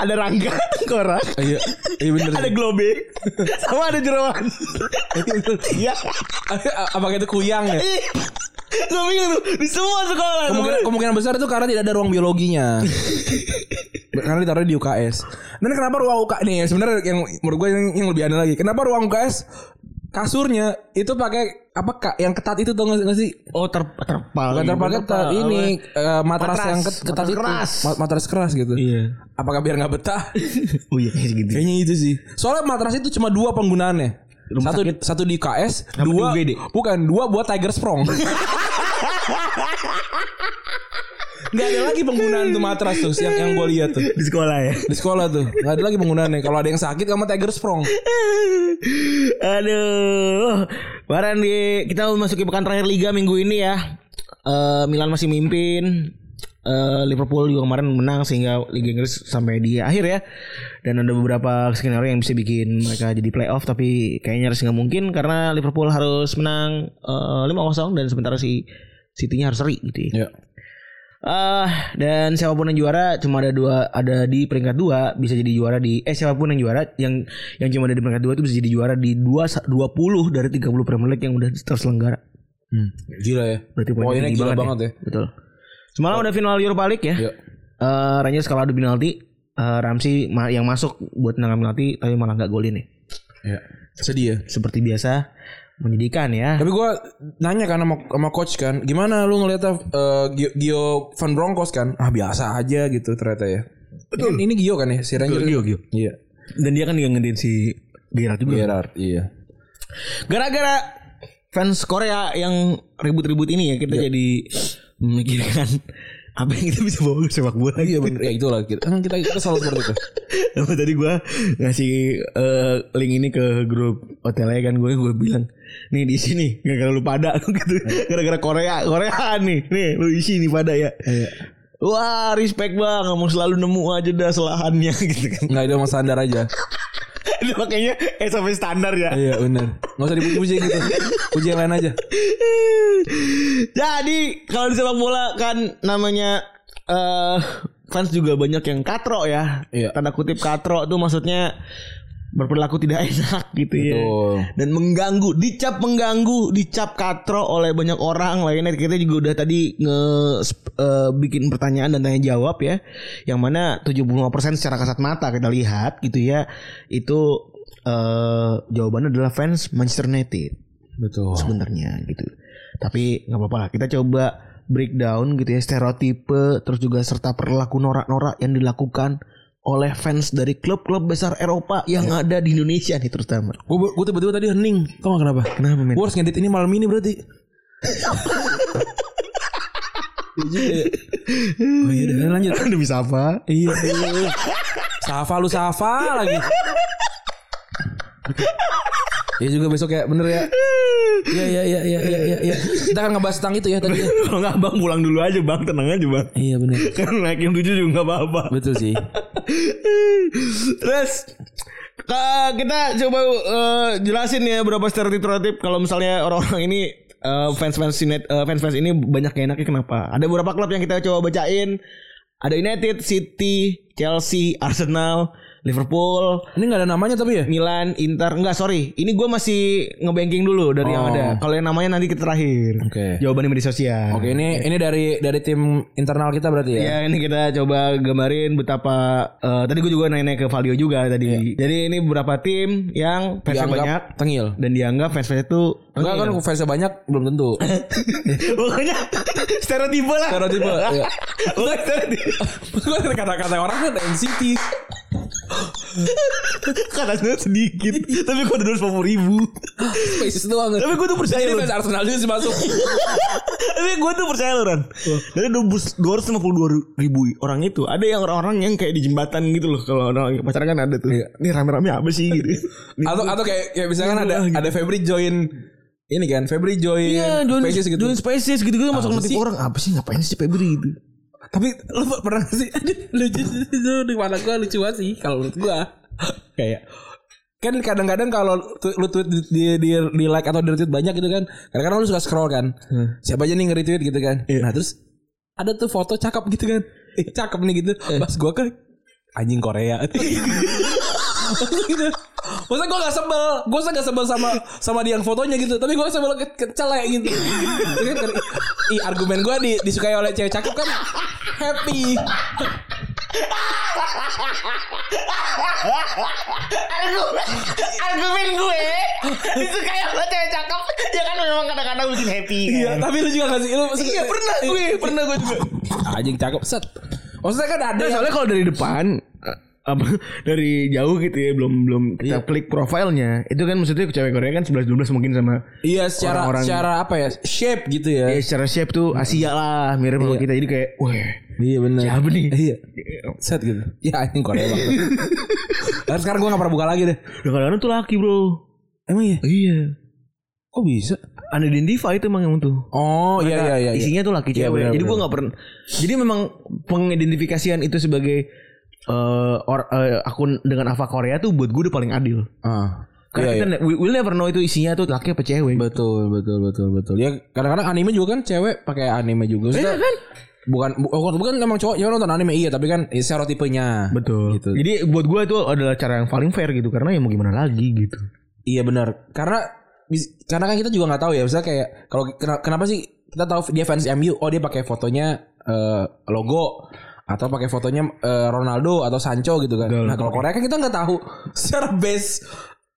S4: ada rangka tengkorak,
S3: Iya Iya bener
S4: ada globe, sama ada jerawan. Iya.
S3: Apakah itu kuyang ya
S4: Gue bingung tuh di semua sekolah.
S3: Kemungkinan, kemungkinan besar itu karena tidak ada ruang biologinya. karena ditaruh di UKS. Dan kenapa ruang UKS nih sebenarnya yang menurut gue yang, yang lebih aneh lagi. Kenapa ruang UKS kasurnya itu pakai apa kak yang ketat itu tau gak, gak sih?
S4: Oh ter terpal.
S3: Bukan terpal kan? ketat ini eh, matras,
S4: Matras.
S3: yang ket- ketat
S4: Matras
S3: itu.
S4: keras.
S3: Ma- Matras keras gitu.
S4: Iya.
S3: Apakah biar nggak betah?
S4: Oh iya kayak gitu.
S3: Kayaknya itu sih. Soalnya matras itu cuma dua penggunaannya. satu satu di UKS,
S4: Sama di
S3: dua
S4: UGD.
S3: bukan dua buat Tiger Sprong. Gak ada lagi penggunaan tuh matras tuh yang yang gue lihat tuh
S4: Di sekolah ya.
S3: di sekolah tuh nggak ada lagi penggunaannya kalau ada yang sakit sama tiger sprong
S4: Aduh. Baran di kita memasuki pekan terakhir liga minggu ini ya. Eh, Milan masih mimpin. Eh, Liverpool juga kemarin menang sehingga Liga Inggris sampai di akhir ya. Dan ada beberapa skenario yang bisa bikin mereka jadi playoff tapi kayaknya harus nggak mungkin karena Liverpool harus menang eh, 5-0 dan sementara si City-nya harus seri gitu ya.
S3: ya
S4: Ah, dan siapapun yang juara cuma ada dua ada di peringkat dua bisa jadi juara di eh siapapun yang juara yang yang cuma ada di peringkat dua itu bisa jadi juara di dua dua puluh dari 30 Premier League yang udah terselenggara.
S3: gila ya
S4: Berarti poinnya
S3: poinnya
S4: tinggi
S3: gila
S4: banget
S3: banget ya,
S4: Betul. Semalam ada final Europa League ya.
S3: Iya.
S4: Eh, Rangers kalah adu penalti. Eh, Ramsey ma- yang masuk buat menang penalti tapi malah nggak golin nih.
S3: Iya. sedih ya
S4: Seperti biasa menyedihkan ya.
S3: tapi gue nanya kan sama, sama coach kan gimana lu ngeliatnya eh, Gio, Gio Van Bronckhorst kan ah biasa aja gitu ternyata ya Betul. Ini, ini Gio kan ya si Ranger
S4: Gio, Gio.
S3: iya
S4: Dan dia kan juga ngedein si Gerard juga.
S3: Gerard iya
S4: Gara-gara fans Korea yang ribut-ribut ini ya kita jadi memikirkan apa yang kita bisa bawa ke sepak bola
S3: iya
S4: gitu.
S3: bener ya itulah kita kan kita kita selalu seperti itu
S4: Apa tadi gua ngasih eh, link ini ke grup hotelnya kan gue gue bilang nih di sini gara-gara lu pada gitu gara-gara Korea Koreaan nih nih lu isi nih pada ya wah respect bang kamu selalu nemu aja dah selahannya gitu kan
S3: nggak ada mas standar aja
S4: itu makanya eh sampai standar ya
S3: iya bener nggak usah dipuji-puji gitu puji yang lain aja
S4: Jadi kalau Ya, di sepak bola kan namanya eh fans juga banyak yang katro ya.
S3: Iya.
S4: Tanda kutip katro tuh maksudnya berperilaku tidak enak gitu ya.
S2: Betul.
S4: Dan mengganggu, dicap mengganggu, dicap katro oleh banyak orang lainnya. Kita juga udah tadi nge sp- eh, bikin pertanyaan dan tanya jawab ya. Yang mana 75% secara kasat mata kita lihat gitu ya. Itu eh jawabannya adalah fans Manchester United
S2: Betul.
S4: sebenarnya gitu. Tapi nggak apa-apa lah. Kita coba breakdown gitu ya stereotipe terus juga serta perilaku norak-norak yang dilakukan oleh fans dari klub-klub besar Eropa yang ada di Indonesia nih terutama.
S3: Gue gue tiba-tiba tadi hening. Tau gak kenapa?
S4: Kenapa men?
S3: Gue harus ngedit ini malam ini berarti. oh iya, udah, lanjut.
S4: Demi apa?
S3: Iya. iya. Safa lu Safa lagi. Ya juga besok ya bener ya. Iya iya iya iya iya iya. Ya. Kita kan ngebahas tentang itu ya tadi. ya.
S4: Kalau nggak bang pulang dulu aja bang tenang aja bang.
S3: Iya bener.
S4: Kan naik yang tujuh juga nggak apa-apa.
S3: Betul sih.
S4: Terus eh, kita coba eh, jelasin ya berapa stereotip kalau misalnya orang-orang ini eh, fans-fans United- eh, fans-fans ini banyak yang enaknya kenapa? Ada beberapa klub yang kita coba bacain. Ada United, City, Chelsea, Arsenal, Liverpool,
S3: Ini nggak ada namanya tapi ya.
S4: Milan, Inter. Enggak, sorry. Ini gue masih ngebanking dulu dari yang
S3: Oh.
S4: ada. Kalau yang namanya nanti kita terakhir.
S3: Oke.
S4: Jawaban di media sosial.
S3: Oke ini ini dari dari tim internal kita berarti ya.
S4: Ya ini kita coba gambarin betapa eh, tadi gue juga nanya ke Valio juga tadi. Jadi ini beberapa tim yang fansnya
S3: Dianggap
S4: banyak
S3: tengil.
S4: dan dianggap fans-fansnya itu
S3: Enggak kan fansnya banyak belum tentu.
S4: pokoknya stereotipe lah.
S3: Stereotipe. Iya.
S4: Pokoknya stereotipe.
S3: Gua ada kata-kata orang kan NCT.
S4: Kata sebenarnya sedikit, tapi gue udah sepuluh ribu.
S3: Spaces doang.
S4: tapi gue tuh percaya
S3: Ini
S4: loh.
S3: fans Arsenal juga sih masuk.
S4: Tapi gue tuh percaya loh Ran. Dari dua ratus lima puluh dua ribu orang itu ada yang orang-orang yang kayak di jembatan gitu loh kalau orang pacaran kan ada tuh. Ini rame-rame apa sih gitu. Ini-
S3: atau atau kayak kayak misalkan ada ada Febri join ini kan Febri join
S4: Iya, join
S3: Spaces gitu.
S4: Join spaces gitu gitu masuk
S3: Apa
S4: notif
S3: sih?
S4: orang apa sih ngapain sih Febri gitu.
S3: Tapi lu pernah gak sih Aduh, lucu itu di mana gua lucu banget sih kalau menurut gua. kayak kan kadang-kadang kalau tu- lu tweet di, di, di, di like atau di retweet banyak gitu kan kadang-kadang lu suka scroll kan siapa aja nih nge-retweet gitu kan nah terus ada tuh foto cakep gitu kan eh, cakep nih gitu pas gua ke anjing Korea Maksudnya gitu. Maksudnya gue gak sebel Gue gak sebel sama sama dia yang fotonya gitu Tapi gue sebel ke, ke celek gitu Itu kan keren. Ih argumen gue di, disukai oleh cewek cakep kan Happy
S2: Argumen gue disukai sama cewek cakep ya kan memang kadang-kadang bikin happy kan.
S3: Iya Tapi lu juga gak sih lu, Iya
S4: pernah gue, pernah gue juga.
S3: Anjing cakep set Maksudnya kan ada
S4: Nah,
S3: yang
S4: soalnya kalau dari depan eh, apa, dari jauh gitu ya belum belum kita klik profilnya itu kan maksudnya cewek Korea kan 11 12 mungkin sama
S3: Iya secara
S4: Orang-orang-
S3: secara apa ya Shape gitu ya
S4: ya secara shape tuh Asia lah mirip sama kita jadi kayak wah
S3: Iya bener
S4: siapa nih
S3: Iya Set gitu Ya anjing Korea banget Karena sekarang gue gak pernah buka lagi deh
S4: Nah, kadang-kadang tuh laki bro
S3: Emang iya
S4: iya
S3: Kok bisa
S4: unidentified itu emang yang tuh
S3: Oh iya iya iya
S4: isinya tuh laki
S3: Iya,
S4: cewek.
S3: benar,
S4: jadi gue
S3: benar.
S4: nggak pernah. Jadi memang pengidentifikasian itu sebagai eh, or- eh, akun dengan Ava Korea tuh buat gue udah paling adil.
S3: Ah.
S4: Karena kita ne- we, we'll never know itu isinya tuh laki apa cewek.
S3: Betul, betul, betul, betul. Ya kadang-kadang anime juga kan cewek pakai anime juga. Maksudnya, Bukan bu- oh, bukan emang cowok cewek nonton anime iya, tapi kan eh, stereotipenya.
S4: Betul.
S3: Gitu.
S4: Jadi buat gue itu adalah cara yang paling fair gitu karena ya mau gimana lagi gitu.
S3: Iya benar. Karena bis- karena kan kita juga nggak tahu ya, misalnya kayak kalau kena- kenapa sih kita tahu dia fans MU, oh dia pakai fotonya eh, logo atau pakai fotonya eh, Ronaldo atau Sancho gitu kan.
S4: Betul.
S3: Nah, kalau Korea kan kita nggak tahu secara base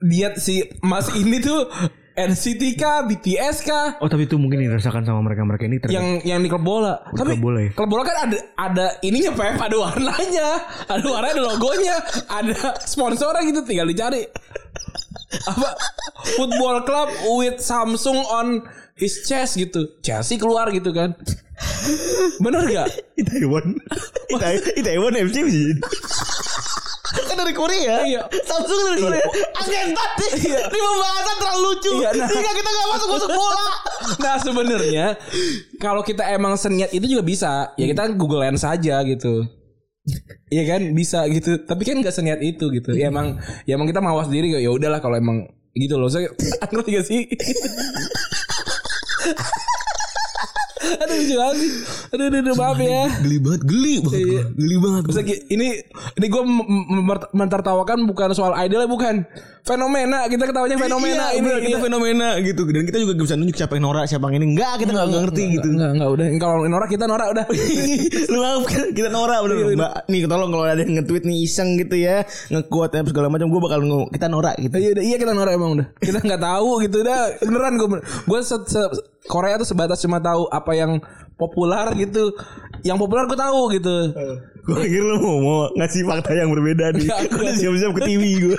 S3: dia si Mas ini tuh NCT kah, BTS kah,
S4: Oh tapi itu mungkin dirasakan sama mereka-mereka ini terkait-
S3: yang yang di klub bola. Tapi
S4: klub bola ya?
S3: klub bola kan ada ada ininya PF, ada warnanya, ada warnanya, ada logonya, ada sponsornya gitu tinggal dicari. Apa football club with Samsung on his chest gitu. Chelsea keluar gitu kan. Bener gak?
S4: Itaewon. Itae- Itaewon FC bisa jadi. kan dari Korea.
S3: Iya.
S4: Samsung dari Korea. Agen tadi. Ini pembahasan terlalu lucu.
S3: Iya, nah.
S4: Sehingga kita gak masuk masuk bola.
S3: Nah sebenarnya kalau kita emang seniat itu juga bisa. Ya
S4: Hmm.
S3: kita Google Lens aja gitu. Iya kan bisa gitu. Tapi kan nggak seniat itu gitu. Ya emang ya emang kita mawas diri ya udahlah kalau emang gitu loh. Saya ngerti gak sih? Aduh lucu banget sih. Aduh, aduh, aduh, maaf ya.
S4: Geli banget, geli banget.
S3: Iya.
S4: gua. Geli banget.
S3: Bisa ki- ini ini gue mentertawakan bukan soal idol ya, bukan fenomena kita ketawanya fenomena
S4: Iya,
S3: ini
S4: bener, kita
S3: iya.
S4: fenomena gitu dan kita juga gak bisa nunjuk siapa yang norak siapa yang ini enggak kita nggak ngerti gitu
S3: Enggak enggak udah kalau norak kita norak udah.
S4: lu maaf kan kita norak bener mbak nih tolong kalau ada yang nge-tweet nih iseng gitu ya ngekuat apa segala macam gue bakal ngomong kita norak gitu
S3: Iya udah iya kita norak emang udah. Kita nggak tahu gitu udah beneran gue gue se- se- Korea tuh sebatas cuma tahu apa yang populer gitu. Yang populer gue tahu gitu.
S4: gue pikir lu mau, mau ngasih fakta yang berbeda nih
S3: Enggak,
S4: gue udah siap-siap ke TV gue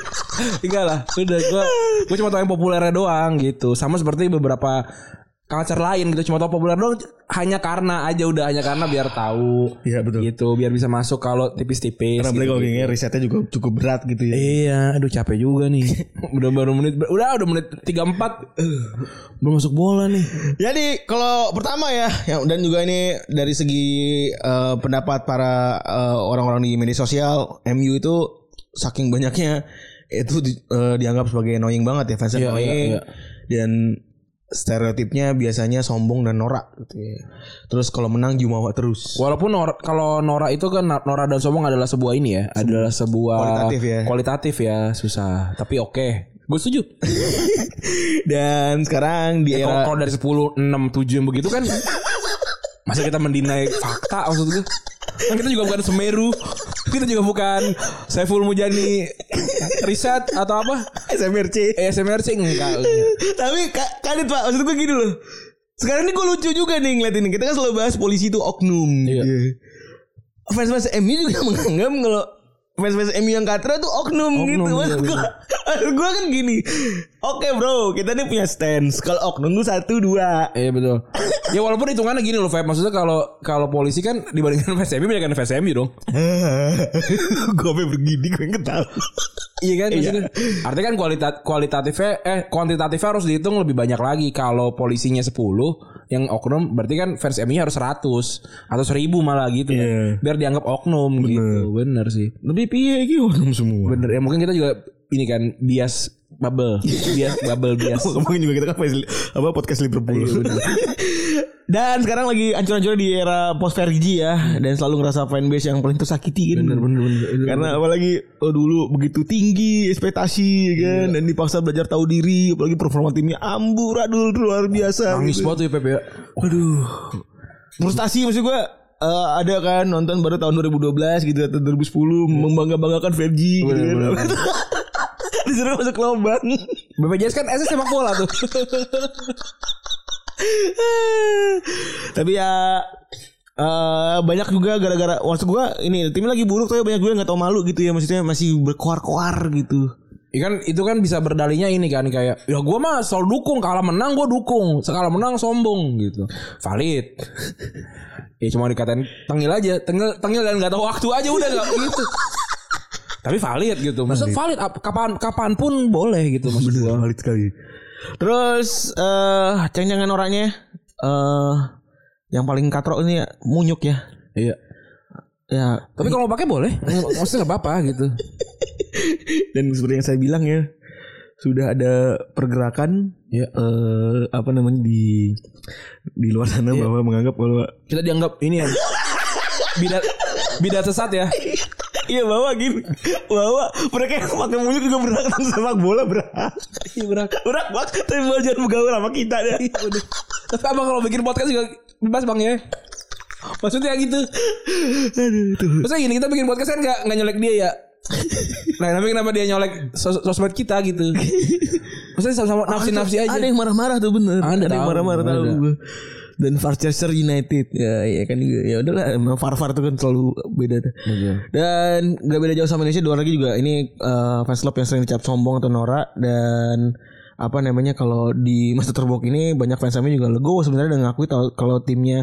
S3: Enggak lah, udah gue gue cuma tahu yang populernya doang gitu. Sama seperti beberapa culture lain gitu cuma tahu populer doang hanya karena aja udah hanya karena biar tahu.
S4: Iya, betul.
S3: Gitu biar bisa masuk kalau tipis-tipis. gitu.
S4: karena beli Nah, kalau gini risetnya juga cukup berat gitu ya
S3: Iya, aduh capek juga nih. udah baru menit udah udah menit 34. Belum masuk bola nih.
S4: Jadi kalau pertama ya, ya, dan juga ini dari segi eh, pendapat para eh, orang-orang di media sosial, MU itu saking banyaknya itu di- eh, dianggap sebagai annoying banget ya fans
S3: Iya,
S4: annoying
S3: iya, iya.
S4: dan stereotipnya biasanya sombong dan norak gitu ya. Terus kalau menang jumawa terus.
S3: Walaupun Nora- kalau Nora itu kan na- Nora dan Sombong adalah sebuah ini ya, adalah sebuah
S4: Kualitatif ya.
S3: kualitatif ya, susah. Tapi oke, gue setuju.
S4: Dan sekarang di
S3: Kalau
S4: era
S3: kalau dari 10, 6, 7 yang begitu kan masa kita mendinai fakta maksud gue. Kan kita juga bukan Semeru, kita juga bukan Saiful Mujani riset atau apa? Eh,
S4: SMRC.
S3: SMRC enggak.
S4: Tapi ka- kadit pak Maksud gue gini loh Sekarang ini gue lucu juga nih ngeliat ini Kita kan selalu bahas polisi itu oknum
S3: Iya.
S4: Iya. Fans-fans MU juga menganggap kalau Fans-fans MU yang katra tuh oknum,
S3: Oknum,
S4: gitu
S3: iya,
S4: Maksud gue maksud gue kan gini Oke bro Kita nih punya stance Kalau oknum tuh satu dua
S3: Iya betul. Ya walaupun hitungannya gini loh, Feb. Maksudnya kalau kalau polisi kan dibandingkan VSMI, banyak VSMI dong.
S4: Gue sampe begini Gue ketawa
S3: Iya kan maksudnya. Artinya kan kualitat kualitatifnya eh kuantitatifnya harus dihitung lebih banyak lagi. Kalau polisinya 10 yang oknum berarti kan fans MU harus 100 atau 1000 malah gitu kan.
S4: Iya.
S3: Biar dianggap oknum gitu. Bener sih.
S4: Tapi piye ini oknum semua
S3: Bener ya mungkin kita juga ini kan bias bubble, bias bubble bias.
S4: Ngomongin juga kita kan fans- apa podcast
S3: Iya,
S4: Liverpool. Dan sekarang lagi ancur-ancur di era post Fergie ya dan selalu ngerasa fanbase yang paling tersakiti kan. Karena apalagi oh, dulu begitu tinggi ekspektasi ya kan dan dipaksa belajar tahu diri apalagi performa timnya amburadul luar biasa.
S3: Nangis
S4: gitu.
S3: banget tuh ya, Pep ya.
S4: Waduh. Frustasi maksud gua eh, ada kan nonton baru tahun 2012 gitu atau 2010 membangga-banggakan Fergie gitu
S3: Iya. Bener,
S4: kan. Disuruh masuk lubang.
S3: BPJS kan SS sepak bola tuh.
S4: Tapi ya eh banyak juga gara-gara maksud gua ini timnya lagi buruk tapi banyak gue nggak tahu malu gitu ya maksudnya masih berkoar-koar gitu.
S3: Ya kan itu kan bisa berdalihnya ini kan kayak ya gua mah selalu dukung kalah menang gua dukung sekala menang sombong gitu valid ya cuma dikatain tengil aja tengil tengil dan nggak tahu waktu aja udah nggak gitu tapi valid gitu maksud valid ap- kapan kapan pun boleh gitu maksud gua
S4: valid sekali. Terus eh ceng-cengan orangnya eh yang paling katrok ini ya, munyuk ya.
S3: iya
S4: Ya
S3: tapi kalau pakai boleh maksudnya nggak apa-apa gitu
S4: dan seperti yang saya bilang ya sudah ada pergerakan
S3: Iya.
S4: eh, apa namanya di di luar sana bahwa menganggap bahwa
S3: kita dianggap ini ya bidat bidat sesat ya
S4: iya bahwa gini bahwa mereka yang pakai munyuk juga berhak nonton sepak bola berhak
S3: iya berat
S4: berhak banget tapi malah jangan bergaul sama kita deh
S3: tapi Iya, abang kalau bikin podcast juga bebas bang ya maksudnya gitu
S4: aduh tuh
S3: Masa gini kita bikin podcast kan gak, nggak nyolek dia ya Nah tapi kenapa dia nyolek sos sosmed kita gitu Maksudnya sama-sama nafsi-nafsi aja
S4: ada yang marah-marah tuh bener
S3: Ada
S4: yang
S3: tahu,
S4: marah-marah tahu
S3: ada.
S4: gue dan Manchester United ya ya kan juga. ya udahlah emang far-far tuh kan selalu beda tuh. dan gak beda jauh sama Indonesia dua lagi juga ini eh, fans club yang sering dicap sombong atau norak dan apa namanya kalau di masa terbok ini banyak fans kami juga legowo sebenarnya dan ngakui tau- kalau timnya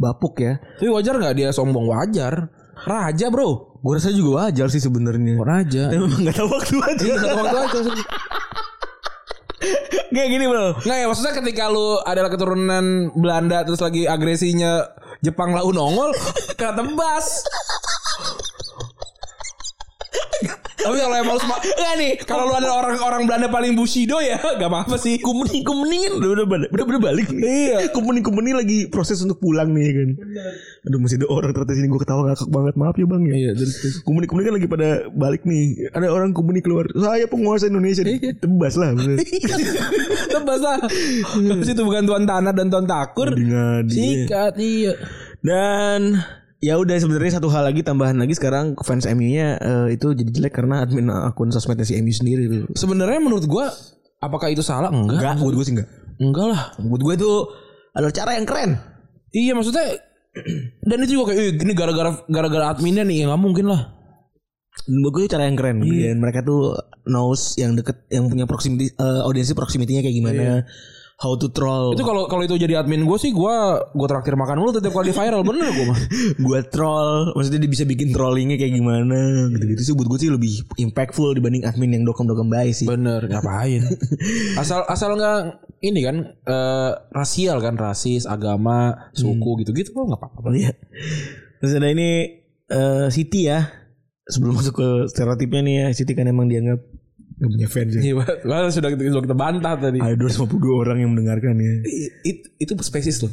S4: bapuk ya
S3: Tapi wajar gak dia sombong? Wajar Raja bro Oh,
S4: gue rasa juga wajar sih sebenarnya
S3: Raja Iya,
S4: Tapi memang gak tahu waktu aja
S3: Waktu aja
S4: kayak gini bro
S3: Nggak ya maksudnya ketika lu adalah keturunan Belanda Terus lagi agresinya Jepang lau nongol Kena tebas Tapi kalau emang lu semua Enggak nih Kalau lu ada orang orang Belanda paling bushido ya Gak apa-apa sih
S4: Kumeni kumeni kan udah udah balik, udah, udah balik.
S3: Iya.
S4: Kumeni kumeni lagi proses untuk pulang nih ya kan. Aduh masih ada orang ternyata sini gue ketawa ngakak banget maaf ya bang ya.
S3: Iya terus
S4: Kumeni kumeni kan lagi pada balik nih. Ada orang kumeni keluar. Saya penguasa Indonesia. Tebas lah. bener.
S3: Tebas lah Terus itu bukan tuan tanah dan tuan takur
S4: Dengan dia.
S3: Sikat iya
S4: Dan ya udah sebenarnya satu hal lagi tambahan lagi sekarang fans MU-nya eh, itu jadi jelek karena admin akun sosmednya si MU sendiri tuh.
S3: Sebenarnya menurut gua Apakah itu salah? Enggak
S4: Enggak, buat gue sih enggak.
S3: Enggak lah
S4: Buat gue itu ada cara yang keren.
S3: Iya maksudnya Dan itu juga kayak "Ih, Ini gara-gara Gara-gara adminnya nih ya, Gak mungkin lah
S4: Dan buat gue itu cara yang keren. Dan mereka tuh knows yang deket yang punya proximity eh, audiensi proximity-nya kayak gimana. How to troll.
S3: Itu kalau kalau itu jadi admin gua sih gua gua traktir makan mulu Tetep kalau di viral Bener gua mah
S4: gue troll, maksudnya dia bisa bikin trollingnya kayak gimana. Gitu-gitu sih buat gue sih lebih impactful dibanding admin yang dokem-dokem baik sih.
S3: Bener ngapain Asal asal nggak Ini kan eh, Rasial kan Rasis Agama Suku gitu-gitu Kok nggak apa-apa
S4: Iya. Terus ada ini eh, Siti ya. Sebelum masuk ke stereotipnya nih ya, Siti kan emang dianggap gak punya fans ya.
S3: Iya, padahal sudah kita, sudah kita bantah tadi.
S4: Ada 252 orang yang mendengarkan ya.
S3: Itu, itu spesies loh.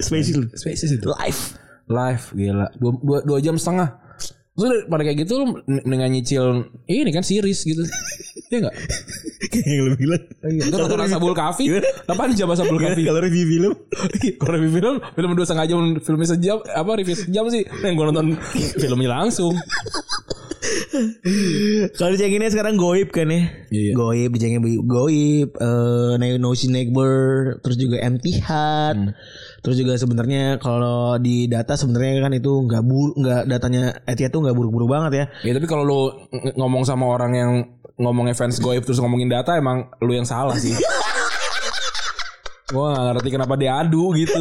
S4: Spesial.
S3: Spesies itu.
S4: Live.
S3: Live gila. Dua, dua, dua jam setengah. Terus pada kayak gitu lu n- dengan nyicil ini kan series gitu. Iya enggak?
S4: Kayak yang lu bilang.
S3: Itu kata rasa bul kafi. Delapan jam rasa bul kafi.
S4: Iya. Kalau review film.
S3: Kalau review film, film dua setengah jam, filmnya sejam, apa review sejam sih? Nah, Yang gue nonton filmnya langsung.
S4: Kalau dicenginnya sekarang goib kan ya.
S3: Iya.
S4: Goib, dicengin goib. eh Nayo No Si Neighbor. Terus juga Empty Heart. Terus juga sebenarnya kalau di data sebenarnya kan itu nggak bur nggak datanya Etia tuh nggak buruk-buruk banget ya.
S3: Ya tapi kalau lu ng- ngomong sama orang yang ngomongnya fans goib terus ngomongin data emang lu yang salah sih. Gua gak ngerti kenapa diadu gitu.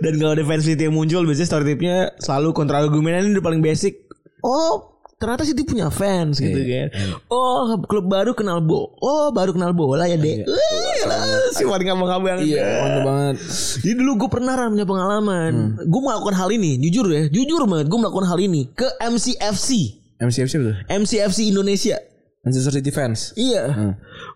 S4: Dan kalau defense City yang muncul biasanya story tipnya selalu kontra argumennya ini udah paling basic. Oh, ternyata City punya fans gitu kan. Oh, klub baru kenal bo. Oh, baru kenal bola ya, Dek. Wih, lah, si paling ngambang abang
S3: Mantap Iya, banget.
S4: Jadi dulu gue pernah Ran, punya pengalaman. Gue melakukan hal ini, jujur ya, jujur banget gue melakukan hal ini ke MCFC.
S3: MCFC betul.
S4: MCFC Indonesia.
S3: Manchester City fans.
S4: Iya.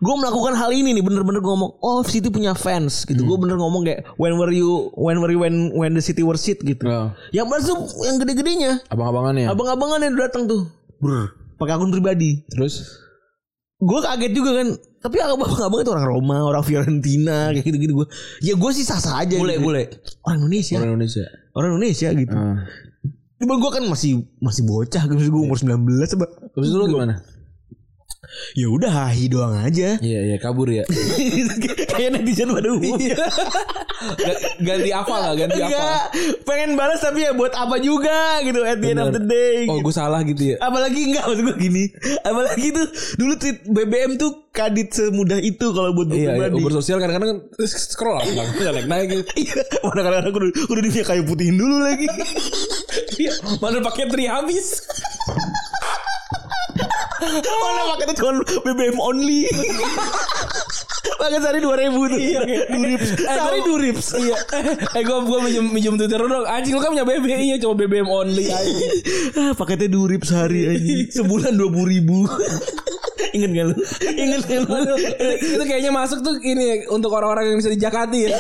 S4: Gue melakukan hal ini nih bener-bener gue ngomong oh City punya fans gitu. Gue bener ngomong kayak when were you when were you when when the City were shit gitu.
S3: Oh.
S4: Yang masuk yang gede-gedenya
S3: Hmm. Abang-abangannya.
S4: abang-abangan yang datang tuh. Brr. Pakai akun pribadi.
S3: terus
S4: Gue kaget juga kan. Tapi abang-abang itu orang Roma, orang Fiorentina kayak gitu-gitu gue. Ya gue sih sah-sah aja. gitu. Orang Indonesia.
S3: orang Indonesia.
S4: Orang Indonesia gitu.
S3: Heeh.
S4: Cuma gue kan masih masih bocah gitu gue
S3: Iya.
S4: umur 19 coba.
S3: Terus lu gimana?
S4: Ya udah hahi doang aja.
S3: Iya iya kabur ya.
S4: Kayak netizen pada
S3: Iya.
S4: umumnya.
S3: Ga- ganti apa lah ganti apa?
S4: Enggak, pengen balas tapi ya buat apa juga gitu at the end of the day.
S3: Oh
S4: gitu.
S3: gue salah gitu ya.
S4: Apalagi enggak maksud gue gini. Apalagi tuh dulu tweet BBM tuh kadit semudah itu kalau buat gue
S3: Iya, iya.
S4: pribadi.
S3: Uber sosial kadang-kadang kan scroll lah, naik naik gitu.
S4: Iya, mana kadang-kadang kudu kudu di kayu putihin dulu lagi.
S3: Iya, mana pakai tri habis.
S4: mana paketnya cuma BBM only. Pakai sehari 2000 tuh. Iya,
S3: Eh,
S4: durips. Sehari durips.
S3: Iya. Eh gue gue minjem minjem Twitter lu dong. Anjing lu kan punya BBM ya cuma BBM only anjing.
S4: Ah, paketnya durip sehari aja. Sebulan dua puluh ribu. Ingat gak lu? Ingat gak lu?
S3: Aduh, itu- itu kayaknya masuk tuh ini ya, untuk orang-orang yang bisa di Jakarta ya.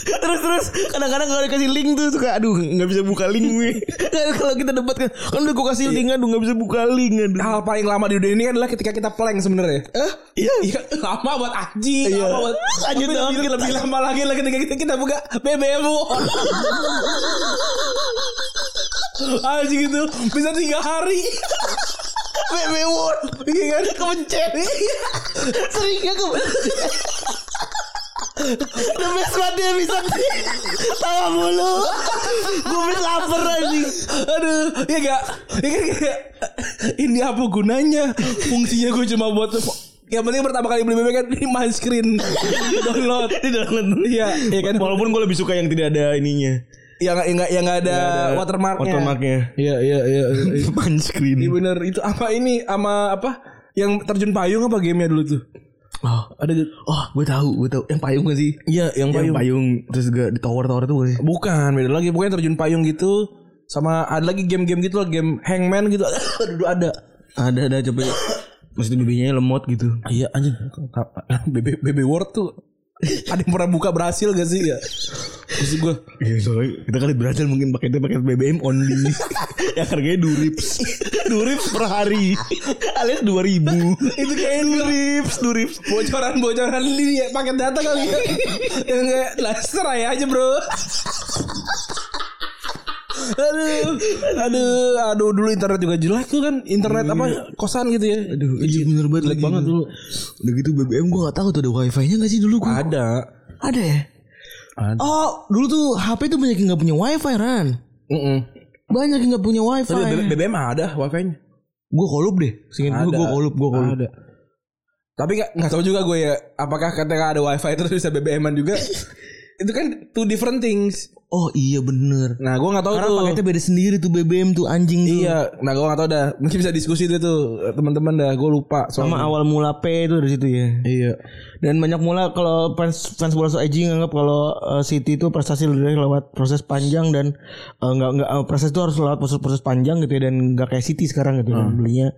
S4: terus terus kadang-kadang kalau dikasih link tuh suka aduh nggak bisa buka link gue. Kan kalau kita debat kan kan udah gue kasih link aduh nggak bisa buka link aduh.
S3: Hal paling lama di dunia ini adalah ketika kita plank sebenarnya.
S4: Eh, iya.
S3: Iya, lama buat anjing,
S4: Iya.
S3: lama buat
S4: Lanjut
S3: Tapi
S4: dong.
S3: lebih, lebih lama lagi lah ketika kita, kita buka BBM bu. Anjing itu gitu. bisa tiga hari.
S4: Meme word.
S3: Iya kan?
S4: Kepencet. Sering gak kepencet. The best part dia bisa Tawa mulu Gue bisa lapar aja
S3: Aduh, ya gak? Ya kan kayak, ini apa gunanya? Fungsinya gue cuma buat yang penting pertama kali beli BBM kan ini my screen download.
S4: Di dalam
S3: Iya, iya kan?
S4: Walaupun gue lebih suka yang tidak ada ininya
S3: Yang yang nggak yang nggak ada watermarknya.
S4: Watermarknya
S3: Iya iya iya. iya.
S4: Punch screen
S3: Iya bener itu apa ini sama apa yang terjun payung apa gamenya dulu tuh?
S4: Oh,
S3: Ada
S4: oh gue tahu, gue tahu. Yang payung gak sih?
S3: Iya yang
S4: Yang payung terus juga di tower-tower tuh gak sih?
S3: Bukan beda lagi pokoknya terjun payung gitu sama ada lagi game-game gitu loh, game hangman gitu. Aduh ada.
S4: Ada ada coba. Maksudnya bibinya lemot gitu.
S3: Iya anjing. BB BB World tuh ada yang pernah buka berhasil gak sih ya? Terus gue
S4: Iya soalnya kita kali berhasil mungkin pakai itu pakai BBM only. ya harganya durips. durips per hari. Alias 2000.
S3: itu kayak
S4: durips, durips.
S3: bocoran-bocoran ini ya paket data kali ya. yang kayak laser aja bro. aduh, aduh, aduh dulu internet juga jelek tuh kan internet apa kosan gitu ya.
S4: Aduh, iya bener banget
S3: jelek
S4: lagi.
S3: banget dulu.
S4: Udah gitu BBM gua gak tahu tuh ada wifi-nya gak sih dulu gua.
S3: Ada.
S4: Ada ya?
S3: Ada.
S4: Oh, dulu tuh HP tuh banyak yang gak punya wifi, Ran.
S3: Mm-mm.
S4: Banyak yang gak punya wifi.
S3: Tapi B- BBM ada wifi-nya.
S4: Gue kolup deh. Singin gue,
S3: Ada.
S4: gue kolup, gue kolup.
S3: Ada. Tapi nggak nggak tahu juga gue ya apakah ketika ada wifi terus bisa BBM-an juga. itu kan two different things.
S4: Oh iya bener.
S3: Nah, gue nggak tahu
S4: Karena
S3: tuh.
S4: paketnya beda sendiri tuh BBM tuh anjing tuh.
S3: Iya, nah gue gak tau dah. Mungkin bisa diskusi deh tuh teman-teman dah. Gue lupa soalnya.
S4: Sama awal mula P itu dari situ ya.
S3: Iya.
S4: Dan banyak mula kalau fans fans bola IG nganggap kalau eh, City itu prestasi dari lewat proses panjang dan eh, nggak nggak eh, prestasi itu harus lewat proses proses panjang gitu ya dan nggak kayak City sekarang gitu kan belinya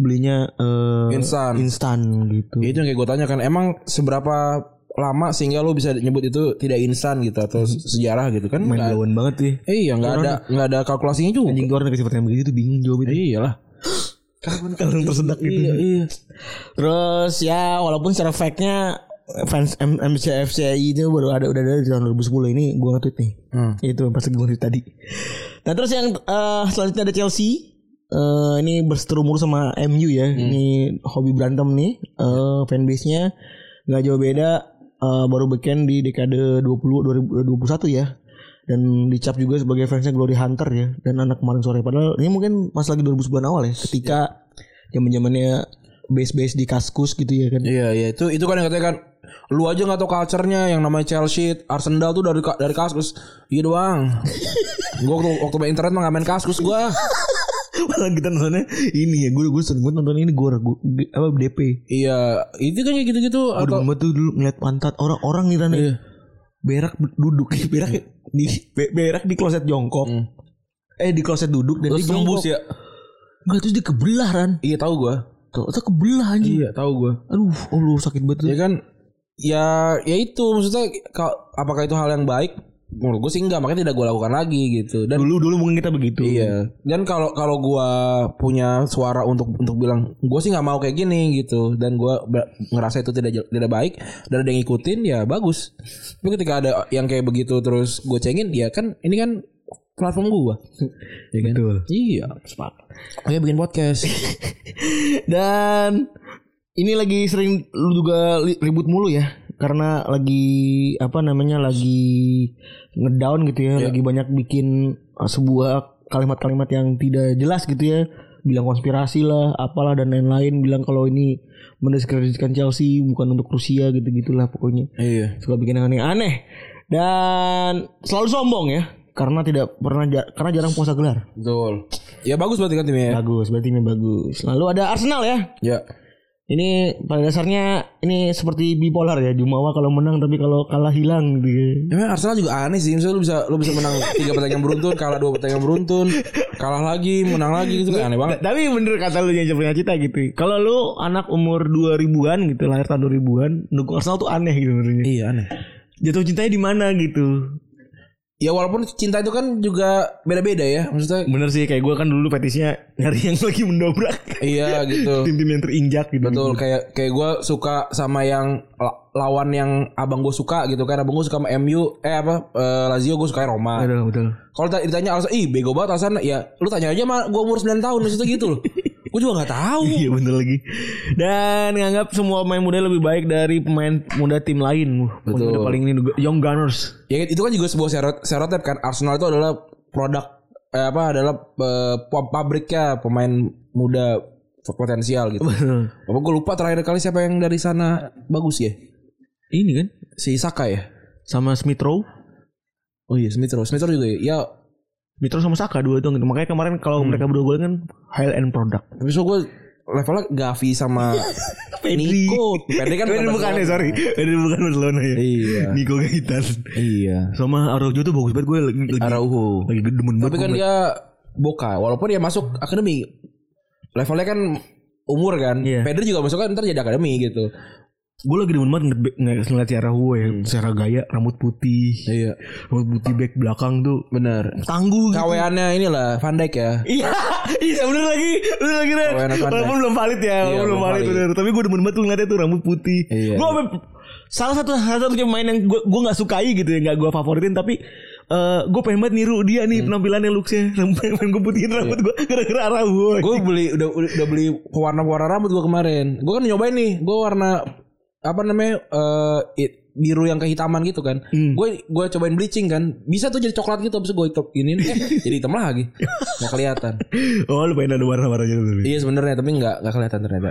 S4: belinya eh,
S3: Instan.
S4: instan gitu.
S3: Itu yang kayak gue tanyakan. Emang seberapa lama sehingga lo bisa nyebut itu tidak instan gitu atau se- sejarah gitu kan?
S4: Main
S3: Nggak-
S4: lawan banget sih.
S3: iya, nggak ada nggak ada kalkulasinya juga.
S4: Anjing orang dikasih pertanyaan begitu tuh bingung jawab itu.
S3: Iyalah.
S4: Kalau tersedak gitu.
S3: Iya, iya.
S4: Terus ya walaupun secara fact-nya fans M MCFCI itu baru ada udah ada di tahun 2010 ini gua nge-tweet nih.
S3: Hmm.
S4: Itu pas gue nge-tweet tadi. Nah, terus yang eh, selanjutnya ada Chelsea. Eh, ini berseterumur sama MU ya. Ini hobi berantem nih eh fanbase-nya nggak jauh beda eh, baru beken di dekade 20 2021 ya. Dan dicap juga sebagai fansnya Glory Hunter ya dan anak kemarin sore padahal ini mungkin pas lagi 2010-an awal ya ketika zaman-zamannya base-base di Kaskus gitu ya kan.
S3: Iya iya itu itu kan yang katanya kan lu aja nggak tahu culture-nya yang namanya Chelsea Arsenal tuh dari ka- dari kaskus iya doang gua waktu waktu main internet mah nggak main kaskus gua
S4: Malah kita nontonnya ini ya gue gue sering banget nonton ini gue apa DP.
S3: iya itu kan kayak gitu gitu
S4: Gue
S3: atau
S4: demen tuh dulu ngeliat pantat orang-orang nih Rana
S3: Iya.
S4: Berak ber- duduk Berak di be- berak di kloset jongkok Eh di kloset duduk Dan
S3: Hmm. terus
S4: dia jongkok
S3: tembus ya
S4: Nggak, terus dia kebelah Ran
S3: iya tahu gua
S4: Tuh tuh kebelah anjing
S3: iya tahu gua
S4: Aduh oh, lu sakit banget
S3: ya
S4: tuh.
S3: kan ya ya itu maksudnya ka- apakah itu hal yang baik menurut gua sih enggak makanya tidak gua lakukan lagi gitu dan
S4: Dulu dulu mungkin kita begitu
S3: Iya. Dan kalau kalau gua punya suara untuk untuk bilang gue sih nggak mau kayak gini gitu dan gua ber- ngerasa itu tidak jel- tidak baik dan ada yang ngikutin ya bagus. Tapi ketika ada yang kayak begitu terus gue cengin ya kan ini kan platform gua. Iya kan?
S4: Betul.
S3: Iya. Oke bikin podcast.
S4: Dan ini lagi sering lu juga li- ribut mulu ya karena lagi apa namanya lagi ngedown gitu ya, lagi banyak bikin uh, sebuah kalimat-kalimat yang tidak jelas gitu ya. Bilang konspirasi lah, apalah dan lain-lain, bilang kalau ini mendiskreditkan Chelsea bukan untuk Rusia gitu-gitulah pokoknya.
S3: iya.
S4: Suka bikin yang aneh-aneh. Dan selalu sombong ya karena tidak pernah jar- karena jarang puasa gelar.
S3: Betul. Ya bagus berarti kan timnya. ya?
S4: Bagus, berarti ini bagus. Lalu ada Arsenal ya.
S3: Ya.
S4: Ini pada dasarnya ini seperti bipolar ya Jumawa kalau menang tapi kalau kalah hilang gitu.
S3: Emang Arsenal juga aneh sih. Misalnya lu bisa lu bisa menang tiga pertandingan beruntun, kalah dua pertandingan beruntun, kalah lagi, menang lagi gitu kan aneh banget.
S4: Tapi bener kata lu jangan punya cita gitu. Kalau lu anak umur 2000-an gitu, lahir tahun 2000-an, dukung Arsenal tuh aneh gitu menurutnya.
S3: Iya aneh.
S4: Jatuh cintanya di mana gitu.
S3: Ya walaupun cinta itu kan juga beda-beda ya Maksudnya
S4: Bener sih kayak gue kan dulu fetisnya nyari yang lagi mendobrak
S3: iya gitu
S4: tim-tim yang terinjak gitu.
S3: Betul kayak kayak gue suka sama yang la- lawan yang abang gue suka gitu kan Abang gue suka sama MU Eh apa eh, Lazio gue suka Roma
S4: Betul, betul.
S3: Kalau ta- ditanya alasan Ih bego banget alasan Ya lu tanya aja sama gue umur 9 tahun Maksudnya gitu loh Gue juga gak tahu
S4: Iya bener lagi. Dan nganggap semua pemain muda lebih baik dari pemain muda tim lain. Wah, pemain
S3: Betul.
S4: muda paling ini Young Gunners.
S3: Ya itu kan juga sebuah serot- serotep kan Arsenal itu adalah produk eh, Apa adalah eh, pa- pabriknya pemain muda potensial gitu Apa gue lupa terakhir kali siapa yang dari sana bagus ya
S4: ini kan
S3: Si Saka ya
S4: sama Smith Rowe
S3: Oh iya Smith Rowe, Smith Rowe juga ya. ya Hmm.
S4: Smith Rowe sama Saka dua itu gitu. makanya kemarin kalau mereka berdua gol kan high end product
S3: besok gue levelnya Gavi sama Nico. Pedri kan
S4: Pedri bukan ya
S3: Barcelona.
S4: sorry Pedri bukan Barcelona ya
S3: Iya.
S4: Nico Gaitan
S3: Iya.
S4: Sama Araujo tuh bagus banget gue lagi lagi-
S3: Araujo.
S4: Lagi demen banget
S3: Tapi kan
S4: gue
S3: dia boka walaupun dia masuk akademi. Levelnya kan umur kan.
S4: Iya.
S3: Pedri juga masuk kan ntar jadi akademi gitu.
S4: Gue lagi demen banget ngeliat- ngeliat ngeliat si Araujo ya Secara gaya rambut putih
S3: Hmm. Iya.
S4: Rambut putih back belakang tuh
S3: Bener.
S4: Tangguh gitu
S3: Kaweannya inilah Van Dijk ya.
S4: Iya, iya bener lagi, bener lagi Ren.
S3: Oh, enak banget. Iya,
S4: Walaupun belum valid ya, walaupun belum
S3: belum
S4: valid,
S3: valid.
S4: bener. Tapi gue demen banget tuh ngeliatnya tuh rambut putih.
S3: Iya,
S4: Gue salah satu salah satu pemain yang gue gue nggak sukai gitu ya, nggak gue favoritin tapi eh gue pengen banget niru dia
S3: Hmm.
S4: nih penampilannya looksnya rambut pengen gue putihin rambut gue gara-gara arah gue
S3: gue beli udah udah udah beli pewarna-pewarna rambut gue kemarin gue kan nyobain nih gue warna apa namanya eh i- biru yang kehitaman gitu kan gue gue cobain bleaching kan bisa tuh jadi coklat gitu abis itu gue hitam ini eh, jadi hitam lagi nggak kelihatan
S4: oh lu pengen ada warna-warnanya tuh
S3: iya sebenarnya tapi nggak nggak kelihatan ternyata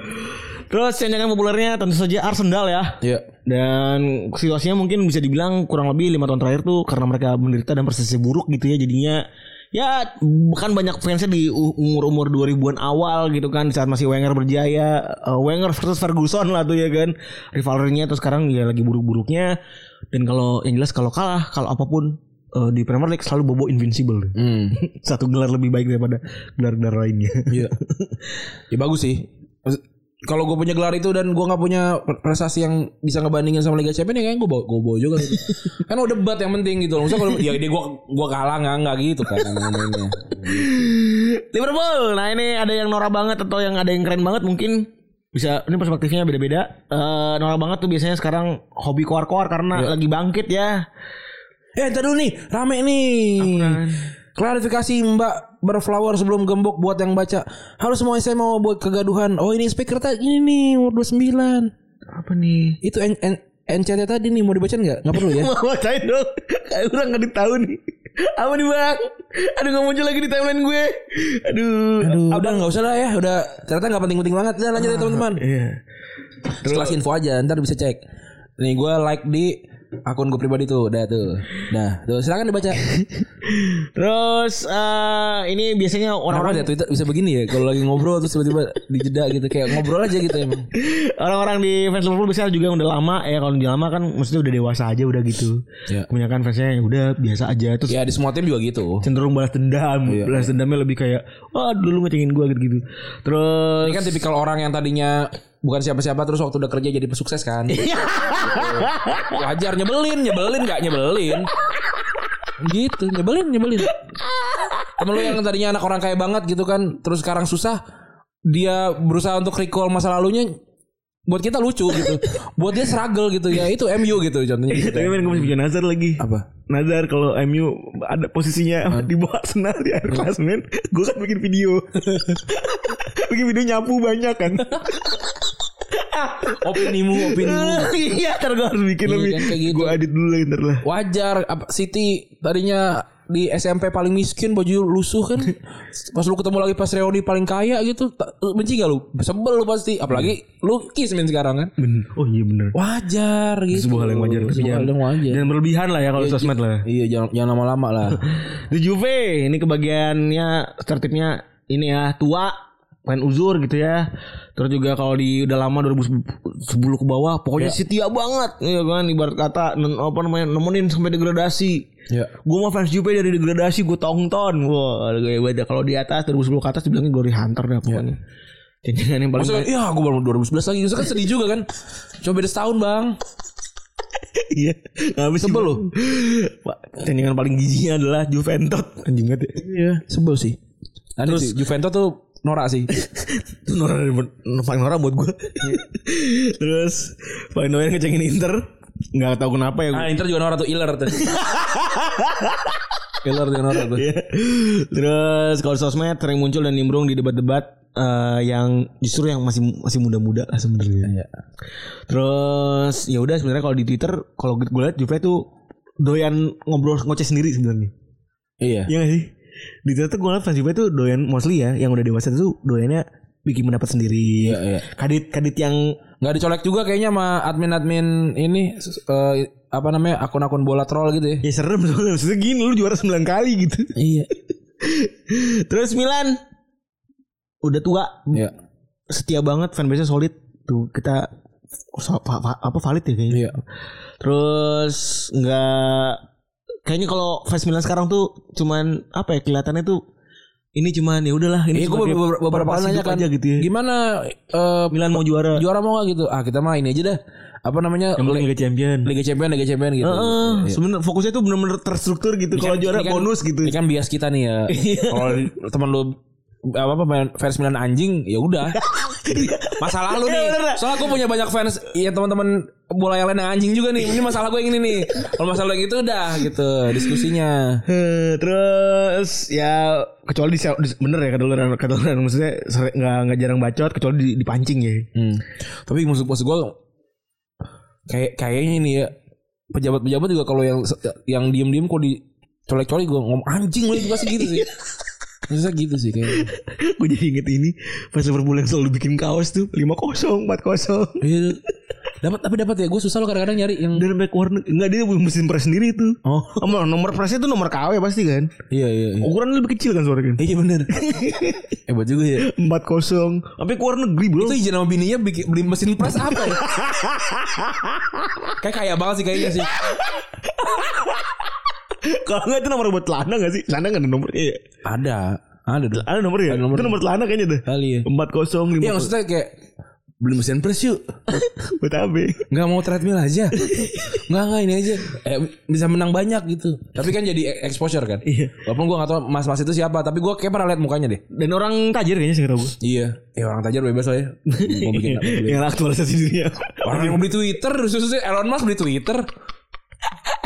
S4: terus yang populernya tentu saja Arsenal ya
S3: iya
S4: dan situasinya mungkin bisa dibilang kurang lebih lima tahun terakhir tuh karena mereka menderita dan prestasi buruk gitu ya jadinya ya bukan banyak fansnya di u- umur-umur 2000-an awal gitu kan saat masih Wenger berjaya Eh, Wenger versus Ferguson lah tuh ya kan rivalrinya terus sekarang ya lagi buruk-buruknya dan kalau yang jelas kalau kalah kalau apapun eh, di Premier League selalu bobo invincible
S3: hmm.
S4: satu gelar lebih baik daripada gelar-gelar lainnya
S3: iya ya bagus sih Maksud- kalau gue punya gelar itu dan gue nggak punya pre- prestasi yang bisa ngebandingin sama Liga Champions ya kayaknya gue bawa, gue bawa juga gitu. kan udah debat yang penting gitu loh. Maksudnya kalau ya dia gue gue kalah nggak nggak gitu kan mainnya.
S4: Liverpool. Nah ini ada yang norak banget atau yang ada yang keren banget mungkin bisa ini perspektifnya beda-beda. Eh norak banget tuh biasanya sekarang hobi koar-koar karena lagi bangkit ya.
S3: Eh ntar dulu nih Rame nih Klarifikasi mbak Berflower sebelum gembok Buat yang baca Halo semua saya mau buat kegaduhan Oh ini speaker tadi Ini nih umur 29
S4: Apa nih?
S3: Itu N N NCT tadi nih Mau dibaca nggak? Nggak perlu ya
S4: Mau bacain dong. Kayak orang nggak ditahu nih. Apa nih bang? Aduh nggak muncul lagi di timeline gue. Aduh.
S3: Ah, Udah nggak usah lah ya Udah ternyata nggak penting-penting banget Udah lanjut ya teman-teman
S4: Iya.
S3: Sekelas info aja Ntar bisa cek Nih gue like di Akun gue pribadi tuh Udah tuh Nah tuh silakan dibaca
S4: Terus eh ini biasanya
S3: Kenapa
S4: orang-orang
S3: ya Twitter bisa begini ya Kalau lagi ngobrol Terus tiba-tiba dijeda gitu Kayak ngobrol aja gitu emang
S4: Orang-orang di fans Liverpool biasanya juga yang udah lama ya kalau udah lama kan maksudnya udah dewasa aja udah gitu.
S3: Iya.
S4: Kebanyakan fansnya yang udah biasa aja terus
S3: Ya di semua tim juga gitu
S4: cenderung balas dendam, balas dendamnya lebih kayak wah dulu ngecengin gua gitu-gitu. Terus
S3: Ini kan tipikal orang yang tadinya bukan siapa-siapa terus waktu udah kerja jadi pesukses kan. Gitu. Wajar nyebelin, nyebelin nggak nyebelin. Gitu, nyebelin, nyebelin. Temen lu yang tadinya anak orang kaya banget gitu kan, terus sekarang susah, dia berusaha untuk recall masa lalunya buat kita lucu gitu. Buat dia struggle gitu ya. Itu MU gitu contohnya gitu.
S4: tapi main gue masih punya Nazar lagi.
S3: Apa?
S4: Nazar kalau MU ada posisinya di bawah Arsenal di akhir klasemen, gue kan bikin video. bikin video nyapu banyak kan.
S3: Opinimu, opinimu.
S4: Iya, ntar gue harus bikin
S3: Iya,
S4: lebih.
S3: kan kayak gitu.
S4: Gue edit dulu lagi ntar lah.
S3: wajar apa Siti tadinya di SMP paling miskin baju lusuh kan pas lu ketemu lagi pas reuni paling kaya gitu ta- benci gak lu sebel lu pasti apalagi lu kismin sekarang kan
S4: Bener. Oh iya bener.
S3: wajar gitu
S4: Sebuah hal yang wajar. tapi
S3: sebuah hal yang wajar
S4: Jangan berlebihan lah ya kalau sosmed lah.
S3: iya jangan jangan lama-lama lah
S4: The Juve ini kebagiannya tertibnya ini ya tua main uzur gitu ya. Terus juga kalau di udah lama 2010 ke bawah pokoknya setia banget ya kan ibarat kata nen- apa namanya nemenin sampai degradasi.
S3: ya
S4: Gue mah fans Juve dari degradasi gue tonton. Wah, gaya banget. Kalau di atas 2010 ke atas dibilangnya glory hunter dah pokoknya. Jangan yang paling
S3: Iya. maksudnya ya aku baru 2011 lagi maksudnya kan sedih juga kan cuma beda setahun bang
S4: Iya. Nggak habis sebel
S3: lu?
S4: Pak, tandingan paling jijiknya adalah Juventus. Anjing banget ya.
S3: iya sebel sih terus Juventus tuh norak sih
S4: Itu Nora dari- paling Nora buat gue.
S3: Iya.
S4: Terus paling Nora yang ngecengin Inter nggak tahu kenapa ya.
S3: ah Inter juga norak tuh iler tuh iler juga norak tuh
S4: Iya. Terus kalau di sosmed sering muncul dan nimbrung di debat-debat eh, yang justru yang masih masih muda-muda lah sebenarnya. Terus ya udah sebenarnya kalau di Twitter kalau gue lihat Juve tuh doyan ngobrol ngoceh sendiri sebenarnya.
S3: iya
S4: Iya gak sih? Di Twitter tuh gue liat fans Juve tuh doyan mostly ya yang udah dewasa tuh doyannya bikin pendapat sendiri.
S3: Iya, iya.
S4: Kadit-kadit yang
S3: nggak dicolek juga kayaknya sama admin-admin ini s- eh, apa namanya akun-akun bola troll gitu ya.
S4: Ya serem soalnya Maksudnya gini lu juara 9 kali gitu
S3: Iya.
S4: Terus Milan Udah tua
S3: Iya.
S4: setia banget fanbase solid tuh kita so- fa- fa- apa valid ya kayaknya
S3: Iya.
S4: terus nggak kayaknya kalau fans Milan sekarang tuh cuman apa ya kelihatannya tuh ini cuman ya udahlah ini
S3: Iya, gue
S4: cuma dia-
S3: beberapa, beberapa kali
S4: purpose
S3: nanya
S4: hidup
S3: kan,
S4: aja gitu ya.
S3: gimana eh,
S4: Milan mau juara
S3: juara mau gak gitu? Ah kita mah ini aja dah. Apa namanya?
S4: yang penting
S3: Li-
S4: Liga Champion
S3: Liga Champion, Liga Champion gitu.
S4: Heeh, sebenarnya fokusnya tuh bener-bener terstruktur gitu. Kalau
S3: Ini kan-
S4: juara
S3: ini kan-
S4: bonus gitu. Iya.
S3: Ini kan bias kita nih ya. Kalau di- teman lu apa pemain fans Milan anjing ya udah masalah
S4: Iya,
S3: lu nih soalnya gue punya banyak fans ya teman-teman bola yang lain yang anjing juga nih ini masalah gue yang ini nih kalau masalah yang itu udah gitu diskusinya
S4: Eh, terus ya kecuali di, di- bener ya kedoleran kedoleran maksudnya sering- nggak nggak jarang bacot kecuali di, dipancing ya.
S3: Hmm. Tapi maksud maksud gue kayak kayaknya ini ya pejabat-pejabat juga kalau yang yang diem-diem kok di colek-colek gue ngomong anjing lu itu pasti gitu sih. Maksudnya gitu sih kayaknya.
S4: Gue jadi inget ini pas Liverpool yang selalu bikin kaos tuh 5-0, 4-0.
S3: Iya. Dapat tapi dapat ya gue susah lo kadang-kadang nyari yang
S4: Dan back warna enggak dia mesin press sendiri itu.
S3: Oh.
S4: Sama nomor pressnya tuh nomor KW pasti kan.
S3: Iya iya. iya.
S4: Ukuran lebih kecil kan suaranya kan.
S3: Iya bener Hebat juga ya
S4: 4-0. Sampai keluar negeri, Bro.
S3: Itu izin sama bininya bikin, beli mesin press apa ya? kayak kaya banget sih kayaknya sih
S4: Kalau enggak itu nomor buat celana enggak sih? Celana enggak ada nomornya ya.
S3: Ada Ada dong
S4: Ada nomor ya?
S3: Ada nomor.
S4: Itu nomor celana kayaknya deh.
S3: Kali ya
S4: 4-0, 5-0.
S3: Iya maksudnya kayak Beli mesin press yuk
S4: buat apa?
S3: Nggak mau treadmill aja Nggak nggak ini aja eh, Bisa menang banyak gitu Tapi kan jadi exposure kan
S4: Iya.
S3: Walaupun gue nggak tahu mas-mas itu siapa Tapi gue kayak pernah liat mukanya deh
S4: Dan orang tajir kayaknya sih kata gue.
S3: Iya Ya orang tajar bebas lah ya Mau bikin apa boleh.
S4: Yang aktualisasi dirinya.
S3: Orang yang beli Twitter Khususnya Elon Musk beli Twitter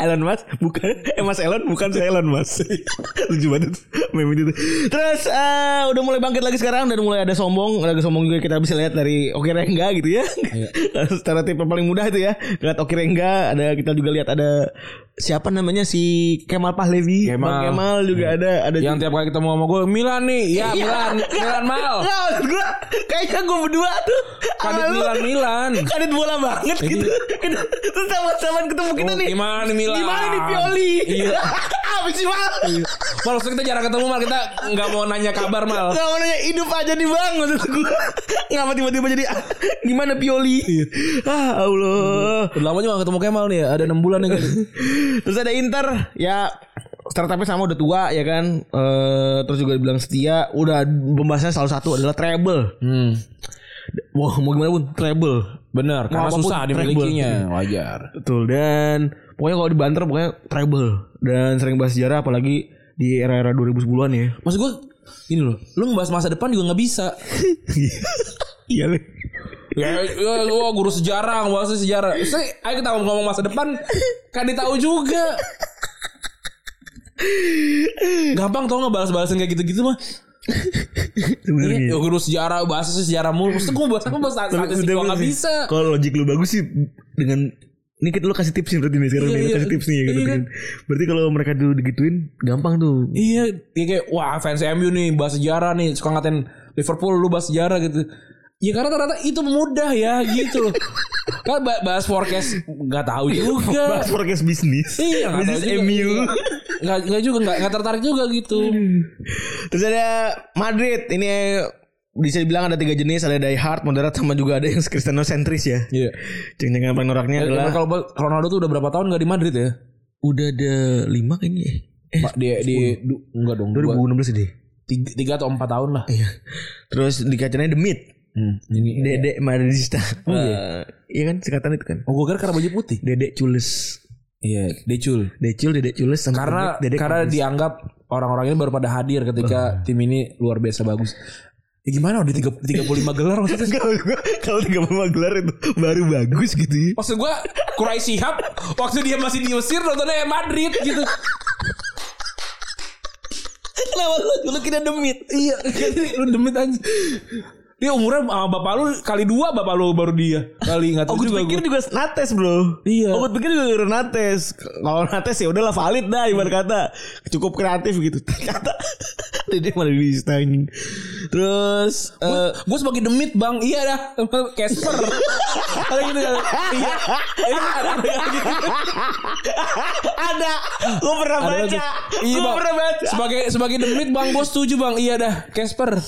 S4: Elon Mas bukan eh Mas Elon bukan saya Elon Mas. Lucu banget meme itu. Terus eh, udah mulai bangkit lagi sekarang dan mulai ada sombong, ada sombong juga kita bisa lihat dari oke Rengga gitu ya. Secara tipe paling mudah itu ya. Lihat oke Rengga, ada kita juga lihat ada siapa namanya si Kemal Pahlevi.
S3: Kemal. Iya,
S4: Bang Kemal juga ada ada
S3: Yang tiap kali ketemu sama gue Milan nih Ya Milan Milan mal
S4: Nggak, maksud gue kayaknya gue berdua tuh sama
S3: Oh. Kadit
S4: lu,
S3: Milan Milan
S4: Kadit bola banget gitu. Terus sama-sama ketemu kita
S3: Oh,
S4: nih.
S3: Gimana nih Milan
S4: Gimana nih Pioli?
S3: Iya
S4: Habis sih mal.
S3: Mal maksudnya kita jarang ketemu Mal Kita nggak mau nanya kabar Mal
S4: Gak mau nanya hidup aja nih bang Maksud gue Gak mau tiba-tiba jadi ah, Gimana Pioli Ah Allah
S3: Iya. Udah lama juga gak ketemu Kemal nih ya Ada 6 bulan ya kali.
S4: Terus ada Inter Ya Startupnya sama udah tua ya kan Eh, Terus juga dibilang setia Udah pembahasannya salah satu adalah treble
S3: Hmm
S4: Wah mau gimana pun treble
S3: Bener, karena
S4: apapun
S3: susah dimilikinya, wajar.
S4: Betul dan Pokoknya kalau dibanter pokoknya treble Dan sering bahas sejarah apalagi Di era-era 2010an ya
S3: Maksud gue ini loh, lu ngebahas masa depan juga nggak bisa.
S4: Iya Le.
S3: ya, ya, gua guru sejarah, ngebahas sejarah. Saya, ayo kita ngomong masa depan, kan ditahu juga. Gampang tau nggak balas-balasan kayak gitu-gitu mah?
S4: Sebenarnya
S3: Iya, guru sejarah, bahasa sejarah mulu. Maksudnya gue bahas apa bahas statistik
S4: Udah
S3: gue nggak
S4: bagus sih.
S3: bisa.
S4: Kalau logik lu bagus sih dengan ini kita lu kasih tips nih berarti nih sekarang
S3: Iya,
S4: nih, lu
S3: iya.
S4: kasih tips nih ya gitu.
S3: Iya, kan?
S4: Berarti kalau mereka dulu digituin gampang tuh.
S3: Iya, dia kayak wah fans MU nih bahas sejarah nih suka ngatain Liverpool lu bahas sejarah gitu. Ya karena ternyata itu mudah ya gitu loh. kan ba- bahas forecast nggak tahu juga.
S4: Bahas forecast bisnis.
S3: Iya, nggak tahu
S4: bisnis
S3: juga.
S4: MU.
S3: Nggak nggak juga nggak nggak tertarik juga gitu.
S4: Terus ada Madrid. Ini bisa dibilang ada tiga jenis, ada die hard, moderat sama juga ada yang Cristiano sentris ya.
S3: Iya.
S4: Ceng-ceng yang paling noraknya adalah
S3: Kalau Ronaldo tuh udah berapa tahun nggak di Madrid ya?
S4: udah ada lima kayaknya. ya. Eh,
S3: Pak, Di di du- enggak dong. dua-
S4: 2016 deh.
S3: tiga, tiga atau empat tahun lah.
S4: Iya. Terus dikacanya The Mid.
S3: Hmm. ini.
S4: Dedek Madridista.
S3: Oh, iya.
S4: Eh, iya kan singkatan itu kan.
S3: Oh, gue kira karena baju putih.
S4: Dedek Cules.
S3: Iya, Decul.
S4: Decul, Dedek Cules sama
S3: karena
S4: Dedek
S3: karena
S4: Cules.
S3: dianggap orang-orang ini baru pada hadir ketika tim ini luar biasa bagus. Ya gimana udah 30 35 gelar maksudnya?
S4: Kalau gua- kalau tiga puluh gelar itu baru bagus gitu ya.
S3: Maksud gua Kurai Sihab waktu dia masih di Mesir nontonnya Madrid gitu.
S4: Kenapa lu dulu kita demit? Iya.
S3: lu demit aja. Dia umurnya sama bapak lu kali dua bapak lu baru dia. Kali enggak
S4: Oh,
S3: tahu
S4: gue
S3: juga
S4: pikir
S3: gua.
S4: juga Nates bro
S3: Iya.
S4: Oh, gue pikir juga Nates Kalau Nates ya udahlah valid dah
S3: Iya.
S4: Ibarat kata Cukup kreatif gitu Ternyata Dede malah di anjing Terus
S3: Gua-
S4: eh,
S3: gua sebagai demit bang Eh. Iya dah Casper Kali gitu kali. Iya Ini ada- ada gitu.
S4: Ada Gue pernah
S3: Ada
S4: baca
S3: lagi. Iya
S4: Gue
S3: bang
S4: pernah baca
S3: Sebagai sebagai demit bang Gue setuju bang Iya dah Casper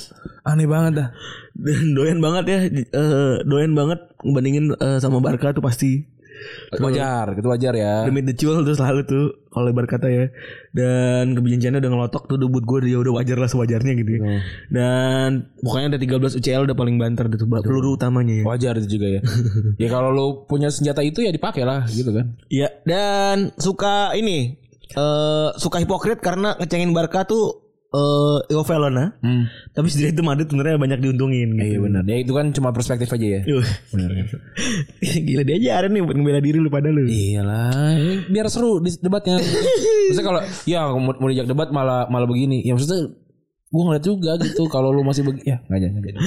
S3: Aneh banget dah.
S2: Dan doyan banget ya, di- eh, doyan banget ngebandingin eh, sama Barca tuh pasti.
S3: Itu wajar, itu wajar ya.
S2: Demi the Jewel tuh selalu tuh oleh Barkata ya. Dan kebenciannya udah ngelotok tuh debut gue ya udah wajar lah sewajarnya gitu. ya.
S3: Nah.
S2: Dan pokoknya ada 13 UCL udah paling banter gitu, tuh Pak. peluru utamanya ya.
S3: Wajar itu juga ya. ya kalau lu punya senjata itu ya dipakai lah gitu kan.
S2: Iya, dan suka ini eh suka hipokrit karena ngecengin Barca tuh eh Io Valona.
S3: Hmm.
S2: Tapi sendiri itu Madrid sebenarnya banyak diuntungin gitu.
S3: Iya benar. Ya itu kan cuma perspektif aja ya.
S2: Yuh. Gila diajarin nih buat ngebela diri lu pada lu.
S3: Iya. Iyalah, ini biar seru dis- debatnya. maksudnya kalau ya mau, mau diajak debat malah malah begini. Ya maksudnya gua ngeliat juga gitu kalau lu masih begini ya nggak jadi.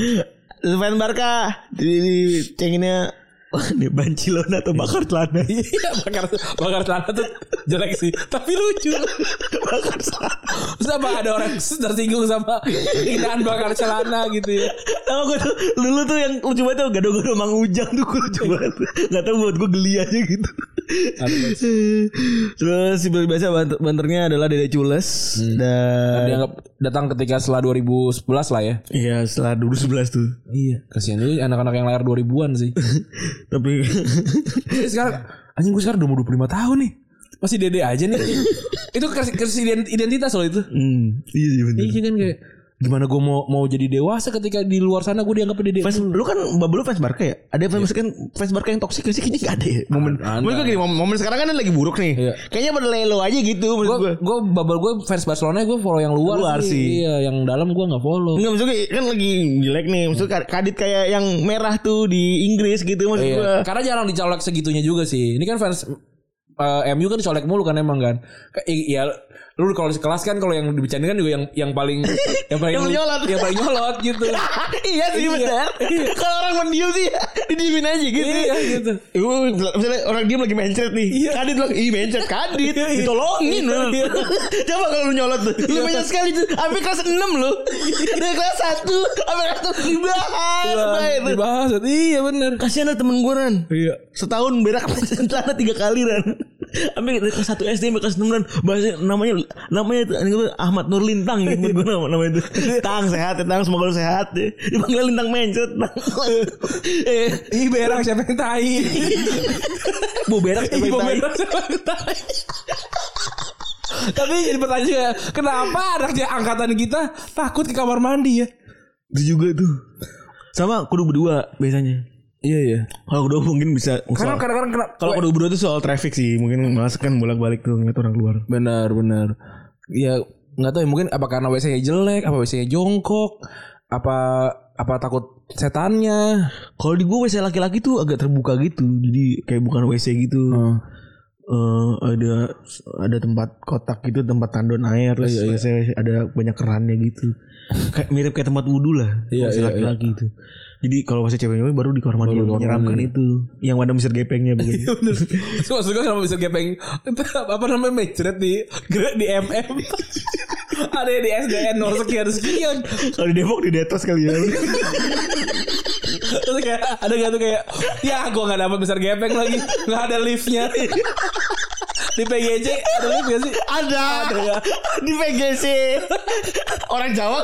S2: Lu fan Barca di cenginnya wah dia Bancilona atau bakar celana.
S3: Iya bakar bakar celana tuh jelek sih, tapi lucu.
S2: bakar celana.
S3: Sama ada orang tersinggung sama hinaan bakar celana gitu ya.
S2: Tau gue tuh dulu tuh yang lucu banget tuh gado-gado Mang Ujang tuh gue lucu banget. Gak tau buat gue geli aja gitu. Terus si biasa banter- banternya adalah Dede Cules dan
S3: Dianggap datang ketika setelah 2011 lah ya.
S4: Iya setelah dulu 11 tuh
S3: Iya. Kasihan dulu anak-anak yang lahir 2000-an sih.
S4: Tapi
S3: Jadi Iya, sekarang anjing gue sekarang udah mau 25 tahun nih. Iya. Masih dede aja nih. itu krisis, krisis ident- identitas loh itu.
S4: hmm, Iya iya bener
S3: Iya kan kayak gimana gue mau mau jadi dewasa ketika di luar sana gue dianggap dede.
S4: Fans, lu kan Mbak lu fans Barca ya? Ada fans kan
S2: fans Barca yang toksik sih kayaknya gak ada ya.
S4: momen.
S3: Iya. Ada.
S4: Menurut gue gini momen, momen sekarang kan lagi buruk nih.
S3: Iya.
S4: Kayaknya pada lelo aja gitu menurut
S3: Gue
S4: gue.
S3: gue bubble gue fans Barcelona gue follow yang luar,
S4: Luar sih.
S3: Iya, yang dalam gue nggak follow.
S4: Enggak maksudnya kayak- kan lagi jelek nih. Maksudnya ka- kadit kayak yang merah tuh di Inggris gitu maksud
S3: Iya,
S4: gue.
S3: Karena jarang dicolek segitunya juga sih. Ini kan fans eh, MU kan dicolek mulu kan emang kan. Ke- i- Ya lu kalau di kelas kan kalau yang dibicarain kan juga yang yang paling yang paling
S4: Yang nyolot.
S3: yang paling nyolot gitu.
S4: iya sih
S3: Iya.
S4: benar. Kalau orang mendiam sih didiemin aja gitu.
S3: iya gitu.
S4: Ibu misalnya orang diem lagi mencret nih.
S3: Iya.
S4: Kadit bilang, "Ih, mencret kadit." Ditolongin
S3: Iya,
S4: lu.
S3: iya.
S4: Coba kalau lu nyolot tuh. Lu
S3: Iya.
S4: banyak sekali tuh. Sampai kelas 6 lu. Dari kelas 1 sampai kelas 6 dibahas.
S3: Bang,
S4: Bay.
S3: Dibahas. Iya bener.
S4: Kasihan ada temen gue Ran
S3: Iya.
S4: Setahun berak celana tiga kali Ran Sampai dari kelas 1 SD sampai kelas 6 Ran Bahasa namanya Namanya itu anjing gua, Ahmad Nur Lintang gitu Temen gue nama, namanya itu Tang sehat ya Tang semoga lu sehat ya Dipanggil Lintang mencet Tang. Eh
S3: Ih berak siapa yang tai?
S4: Bu berak siapa
S3: Ih,
S4: yang
S3: bau
S4: tai?
S3: Iya. berak siapa yang tai? Tapi jadi pertanyaan juga, kenapa anaknya angkatan kita takut ke kamar mandi ya?
S4: Itu juga tuh Sama kudu berdua biasanya
S3: Iya iya.
S4: Kalau kudu mungkin bisa
S3: Karena kan-
S4: soal-
S3: kadang-kadang kena-
S4: Kalau kudu berdua tuh soal traffic sih Mungkin malas kan bolak-balik tuh Ngeliat orang keluar
S3: Benar, benar. Ya nggak tahu ya mungkin apa karena WC-nya jelek, apa WC-nya jongkok, apa apa takut setannya.
S4: Kalau di gue WC laki-laki tuh agak terbuka gitu, jadi kayak bukan WC gitu. Eh, ada ada tempat kotak gitu, tempat tandon air, terus WC ada banyak kerannya gitu. kayak mirip kayak tempat wudhu lah,
S3: Iya,
S4: WC
S3: iya,
S4: laki-laki itu. Jadi kalau WC cewek-cewek baru Iya, di kamar mandi
S3: Baru di kamar
S4: menyeramkan
S3: mandi.
S4: itu, yang ada misir gepengnya begitu.
S3: Terus maksud gue kenapa bisa gepeng apa namanya mencret di gerak di MM. Ada yang di SDN nomor sekian sekian.
S4: kalau di Depok di detos kali ya.
S3: Terus kayak ada gak tuh kayak ya gua nggak dapat besar gepeng lagi, nggak ada liftnya. di PGC ada lift gak sih?
S4: ada, ya. di PGC. Orang Jawa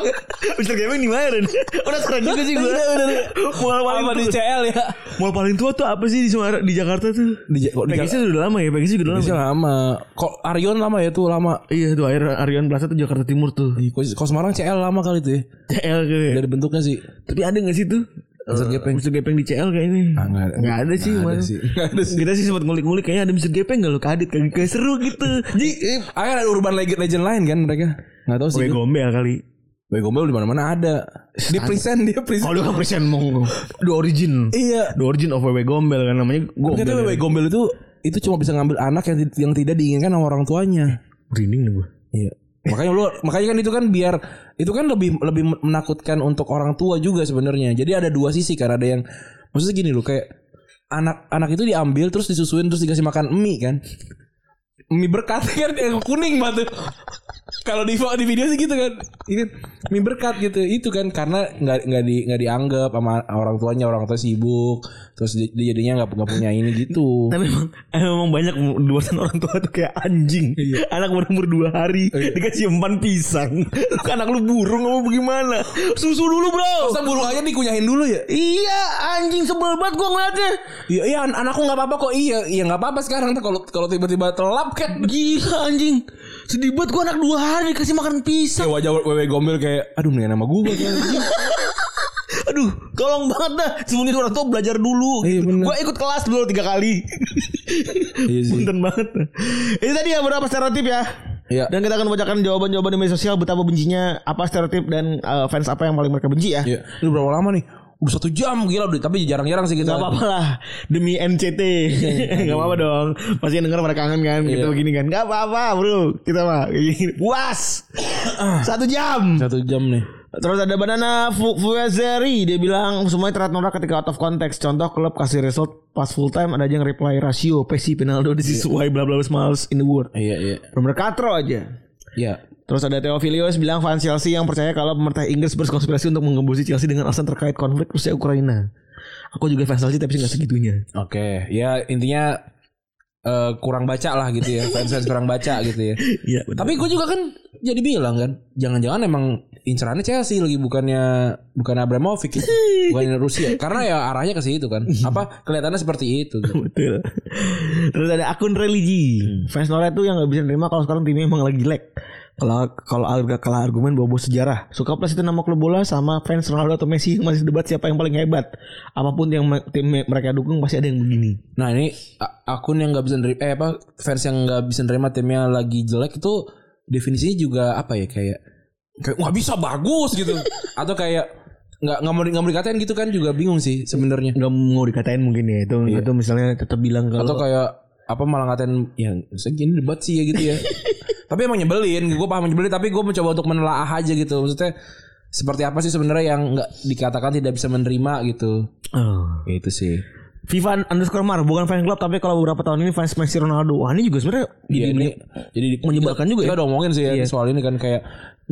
S4: Mister Gepeng di mana? Ren? Udah keren juga sih
S3: Iya,
S4: gue.
S3: Apa di CL ya?
S4: Mall paling tua tuh apa sih di Sumatera di Jakarta tuh?
S3: Di, kok di
S4: PGC udah lama ya, PGC udah lama.
S3: Jakarta lama. Kok Arion lama ya tuh lama.
S4: Iya tuh air Arian Plaza tuh Jakarta Timur tuh.
S3: Ih, Kalau kalau Iya, Semarang CL lama kali tuh ya.
S4: CL gitu ya.
S3: Dari bentuknya sih.
S4: Tapi ada gak sih tuh?
S3: Mr.
S4: Eh,
S3: Gepeng.
S4: Mr. Gepeng di CL kayaknya
S3: Ah, nggak ada.
S4: Nggak ada sih
S3: Nggak ada
S4: mana.
S3: sih. Nggak ada sih.
S4: Kita sih sempat ngulik-ngulik Kayaknya ada Mr. Gepeng gak lo kadit Kayak kayak seru gitu Jadi eh,
S3: Ah, kan ada urban legend, legend lain kan mereka. Enggak tahu sih.
S4: Gue
S3: Wego.
S4: gombel kali
S3: Gombel di mana-mana ada. Dia present, dia
S4: Oh
S3: present.
S4: lu gak present mau The origin
S3: Iya.
S4: The origin of WW Gombel kan Namanya
S3: Katanya
S4: Gombel
S3: Wego Gombel itu itu cuma bisa ngambil anak yang ti- yang tidak diinginkan sama orang tuanya.
S4: Brinding nih gue
S3: Iya. Makanya lu makanya kan itu kan biar itu kan lebih lebih menakutkan untuk orang tua juga sebenarnya. Jadi ada dua sisi kan ada yang maksudnya gini loh kayak anak anak itu diambil terus disusuin terus dikasih makan mie kan. Mie berkat kan yang kuning banget. tuh. Kalau di di video sih gitu kan. Ini mie berkat gitu. Itu kan karena nggak nggak di nggak dianggap sama orang tuanya, orang tua sibuk. Terus dia, dia jadinya nggak nggak punya ini gitu.
S4: Tapi emang, emang banyak luasan orang tua tuh kayak anjing. Anak berumur dua hari dikasih empan pisang. Lu kan anak lu burung apa bagaimana? Susu dulu bro.
S3: Masa burung aja dikunyahin dulu ya?
S4: Iya anjing sebel banget gua ngeliatnya.
S3: Iya, iya an- anakku nggak apa-apa kok. Iya, iya nggak apa-apa sekarang. Ntar Kalau kalau tiba-tiba telap kan.
S4: Gila anjing. Sedih banget gua anak dua hari dikasih makan pisang.
S3: Kayak wajah wewe gombel kayak, aduh mendingan sama gue.
S4: Aduh, tolong banget dah. Semuanya orang tua belajar dulu.
S3: Iya, bener.
S4: Gua ikut kelas dulu tiga kali.
S3: Iya sih.
S4: Punten banget. Ini tadi ya berapa stereotip ya?
S3: Iya.
S4: Dan kita akan bacakan jawaban-jawaban di media sosial betapa bencinya apa stereotip dan eh, fans apa yang paling mereka benci ya.
S3: Iya. Lu berapa lama nih? Udah satu jam gila udah. Tapi jarang-jarang sih kita.
S4: Gak apa-apa lah Demi NCT Gak apa-apa dong Pasti yang denger pada kangen kan Gitu
S3: Iya.
S4: begini kan Gak apa-apa bro Kita mah kayak gini. Puas
S3: Ah.
S4: Satu jam
S3: Satu jam nih.
S4: Terus ada Banana Fu- Fuezeri Dia bilang Semuanya terlihat norak ketika out of context Contoh klub kasih result Pas full time Ada aja yang reply Rasio Pesi Pinaldo This is why bla bla bla smiles in the world
S3: Iya, iya.
S4: Bener-bener katro aja
S3: Iya.
S4: Terus ada Theophilus bilang fans Chelsea yang percaya kalau pemerintah Inggris berkonspirasi untuk mengembusi Chelsea dengan alasan terkait konflik Rusia Ukraina. Aku juga fans Chelsea tapi nggak segitunya.
S3: Oke, ya intinya eh, kurang baca lah gitu ya, fans fans kurang baca gitu ya.
S4: Iya. bener.
S3: Tapi gue juga kan jadi bilang kan, jangan-jangan emang incerannya Chelsea lagi bukannya bukan Abramovich, gitu. bukan Rusia, karena ya arahnya ke situ kan. Apa kelihatannya seperti itu? gitu.
S4: Betul. Terus ada akun religi. Fans Nora tuh yang nggak bisa nerima kalau sekarang timnya emang lagi lag. Kalau kalau alga kalah argumen bobo sejarah. Suka plus itu nama klub bola sama fans Ronaldo atau Messi yang masih debat siapa yang paling hebat. Apapun yang me- tim me- mereka dukung pasti ada yang begini.
S3: Nah ini a- akun yang nggak bisa nerima, eh apa fans yang nggak bisa nerima timnya lagi jelek itu definisinya juga apa ya kayak kayak nggak bisa bagus gitu, atau kayak nggak nggak mau di- nggak mau dikatain gitu kan juga bingung sih sebenarnya.
S4: Gak mau dikatain mungkin ya itu itu misalnya tetap bilang
S3: atau
S4: kalau
S3: kayak apa malah ngatain ya segini debat sih ya gitu ya tapi emang nyebelin gue paham nyebelin tapi gue mencoba untuk menelaah aja gitu maksudnya seperti apa sih sebenarnya yang nggak dikatakan tidak bisa menerima gitu
S4: Oh.
S3: itu sih
S4: FIFA underscore Mar bukan fan club tapi kalau beberapa tahun ini fans Messi Ronaldo wah ini juga sebenarnya
S3: jadi
S4: jadi
S3: ini, jadi di-
S4: Iya, menyebalkan juga
S3: kita
S4: ya.
S3: udah ngomongin sih ya soal ini kan kayak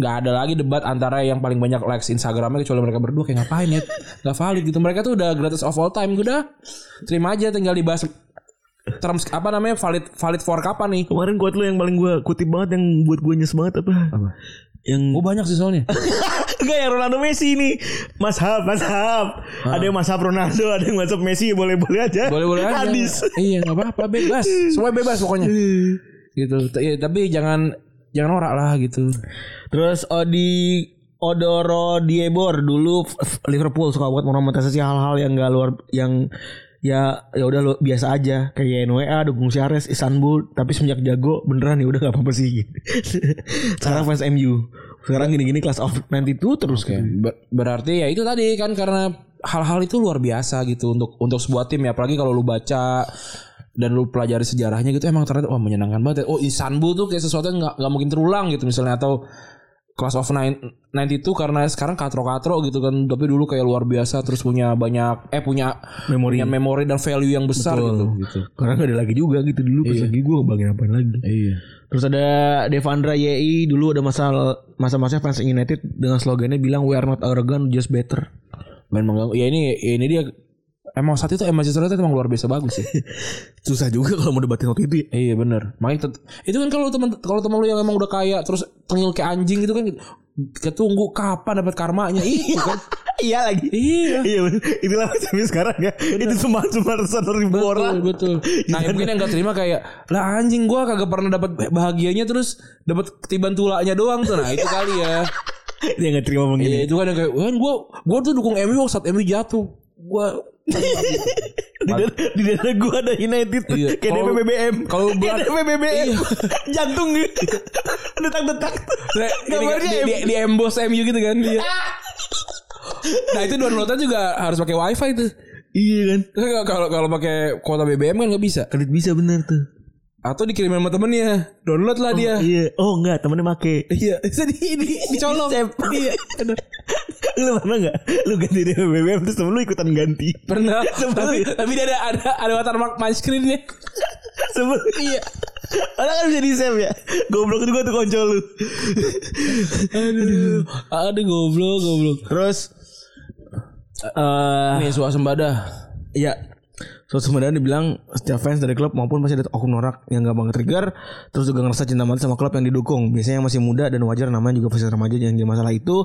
S3: nggak ada lagi debat antara yang paling banyak likes Instagramnya kecuali mereka berdua kayak ngapain ya nggak valid gitu mereka tuh udah greatest of all time udah terima aja tinggal dibahas terms apa namanya valid valid for kapan nih
S4: kemarin kuat lu yang paling gue kutip banget yang buat gue nyes banget apa, yang
S3: gue banyak sih soalnya
S4: enggak yang Ronaldo Messi ini Mas Hab Mas Hab ada yang Mas Hab Ronaldo ada yang Mas Hab Messi boleh-boleh aja
S3: Boleh-boleh aja.
S4: hadis
S3: Iya, enggak apa-apa, bebas. Semua bebas pokoknya.
S4: Iya.
S3: gitu. T- iya, tapi jangan jangan norak lah gitu.
S4: Terus Odi Odoro Diebor dulu f- f- Liverpool suka buat monomatisasi hal-hal yang gak luar yang ya ya udah lu- biasa aja kayak NWA dukung Syares Istanbul tapi semenjak jago beneran ya udah nggak apa-apa sih sekarang fans MU sekarang gini-gini kelas of 92 terus
S3: Oke.
S4: kan
S3: Ber- berarti ya itu tadi kan karena hal-hal itu luar biasa gitu untuk untuk sebuah tim ya, apalagi kalau lu baca dan lu pelajari sejarahnya gitu emang ternyata wah menyenangkan banget. ya. Oh, Istanbul tuh kayak sesuatu yang nggak nggak mungkin terulang gitu misalnya atau Class of nine- 92 karena sekarang katro-katro gitu kan tapi dulu kayak luar biasa terus punya banyak eh punya
S4: Memori.
S3: punya memori dan value yang besar
S4: Betul.
S3: gitu gitu.
S4: karena gak ada lagi juga gitu dulu pas lagi gue bagian apain lagi
S3: Iya.
S4: Terus ada Devandra YI dulu ada masa masa-masa fans United dengan slogannya bilang we are not arrogant just better.
S3: main mengganggu ya ini ya ini dia emang saat itu eh, Manchester United emang luar biasa bagus sih
S4: Susah juga kalau mau debatin waktu itu ya.
S3: iya bener makanya tet- itu kan kalau teman kalau teman lu yang emang udah kaya terus tengil kayak anjing gitu kan ketunggu kapan dapat karmanya itu kan
S4: iya lagi.
S3: iya
S4: Iya, bener. itulah sampai sekarang ya. Itu cuma cuma satu ribu orang.
S3: Betul, betul. Nah, mungkin yang gak terima kayak lah anjing gua kagak pernah dapat bahagianya terus dapat ketiban tulaknya doang tuh. Nah, itu kali ya.
S4: Dia nggak terima bang ini.
S3: Iya, itu kan yang kayak kan gua gua tuh dukung MU saat MU jatuh. Gua
S4: Di dada, di dada gue ada United.
S3: Iya.
S4: Kayak
S3: Kalau-
S4: DP BBM.
S3: kalau
S4: kayak
S3: Belanda-
S4: DP BBM. Jantung gitu. Detak-detak.
S3: Nah, ini kan,
S4: Gambarnya
S3: di, di, di emboss MU gitu kan dia. nah itu downloadnya juga harus pakai wifi tuh.
S4: Iya kan.
S3: Kan Kalau kalau pakai kuota BBM kan nggak bisa.
S4: Kredit bisa bener tuh.
S3: Atau dikirimin sama temennya. Download lah dia.
S4: Iya. Oh enggak temennya make.
S3: Iya. Bisa di, di, dicolok. Iya. Aduh.
S4: lu pernah nggak lu ganti dari BBM terus temen lu ikutan ganti
S3: Pernah.
S4: Sebel.
S3: tapi, tapi dia ada ada ada watermark my screen-nya.
S4: sebel
S3: Iya.
S2: Orang kan bisa di save ya. Goblok juga tuh konco lu.
S3: Aduh, aduh goblok, goblok.
S4: Terus
S3: Eh, Iya. nih suasembada.
S4: ya So sebenarnya dibilang setiap fans dari klub maupun pasti ada oknum norak yang gampang trigger terus juga ngerasa cinta mati sama klub yang didukung. Biasanya yang masih muda dan wajar namanya juga pasti remaja yang jadi masalah itu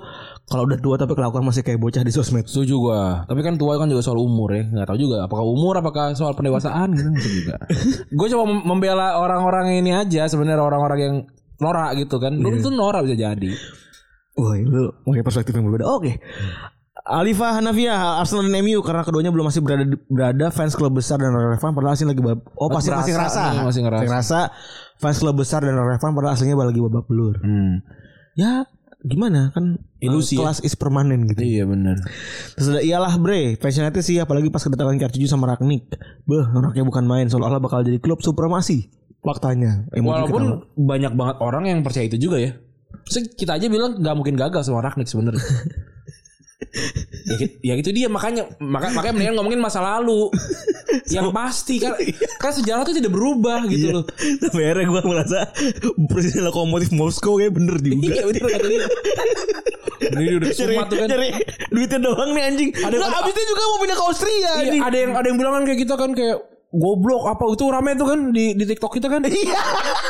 S4: kalau udah tua tapi kelakuan masih kayak bocah di sosmed.
S3: Setuju gua. Tapi kan tua kan juga soal umur ya. Gak tahu juga apakah umur apakah soal pendewasaan gitu nggak tahu juga. gua coba mem- membela orang-orang ini aja sebenarnya orang-orang yang norak gitu kan. Belum tentu norak bisa jadi.
S4: Wah, lu pakai perspektif yang berbeda. Oke. Alifa Hanafiah Arsenal dan MU karena keduanya belum masih berada berada fans klub besar dan relevan padahal aslinya lagi bab- oh
S3: Masih
S4: pasti masih
S3: ngerasa
S4: ngerasa
S3: nih, masih ngerasa.
S4: fans klub besar dan relevan padahal aslinya lagi babak belur
S3: Hmm.
S4: ya gimana kan
S3: Ilusi ya.
S4: kelas is permanen gitu
S3: Iya benar.
S4: Terus ada iyalah bre, fashionnya sih apalagi pas kedatangan Kartuju sama Ragnik. Beh, Ragnik bukan main, seolah-olah bakal jadi klub supremasi. Faktanya. Eh, Emoji
S3: Walaupun
S4: ketawa.
S3: banyak banget orang yang percaya itu juga ya. Terus kita aja bilang nggak mungkin gagal sama Ragnik sebenarnya. ya, ki- ya itu dia makanya maka, makanya mendingan ngomongin masa lalu yang pasti kan kan sejarah tuh tidak berubah gitu
S4: Iya.
S3: loh
S4: Tapi akhirnya gue merasa presiden lokomotif Moskow kayak bener juga.
S3: iya bener kata dia ini udah
S4: Cari,
S3: sumat tuh kan
S4: cari duitnya doang nih anjing. Ada,
S3: ada-
S4: abis itu juga mau pindah ke Austria
S3: Iya,
S4: anjing.
S3: ada yang ada yang bilang kan kayak kita kan kayak goblok apa itu rame tuh kan di di TikTok kita kan
S4: Iya.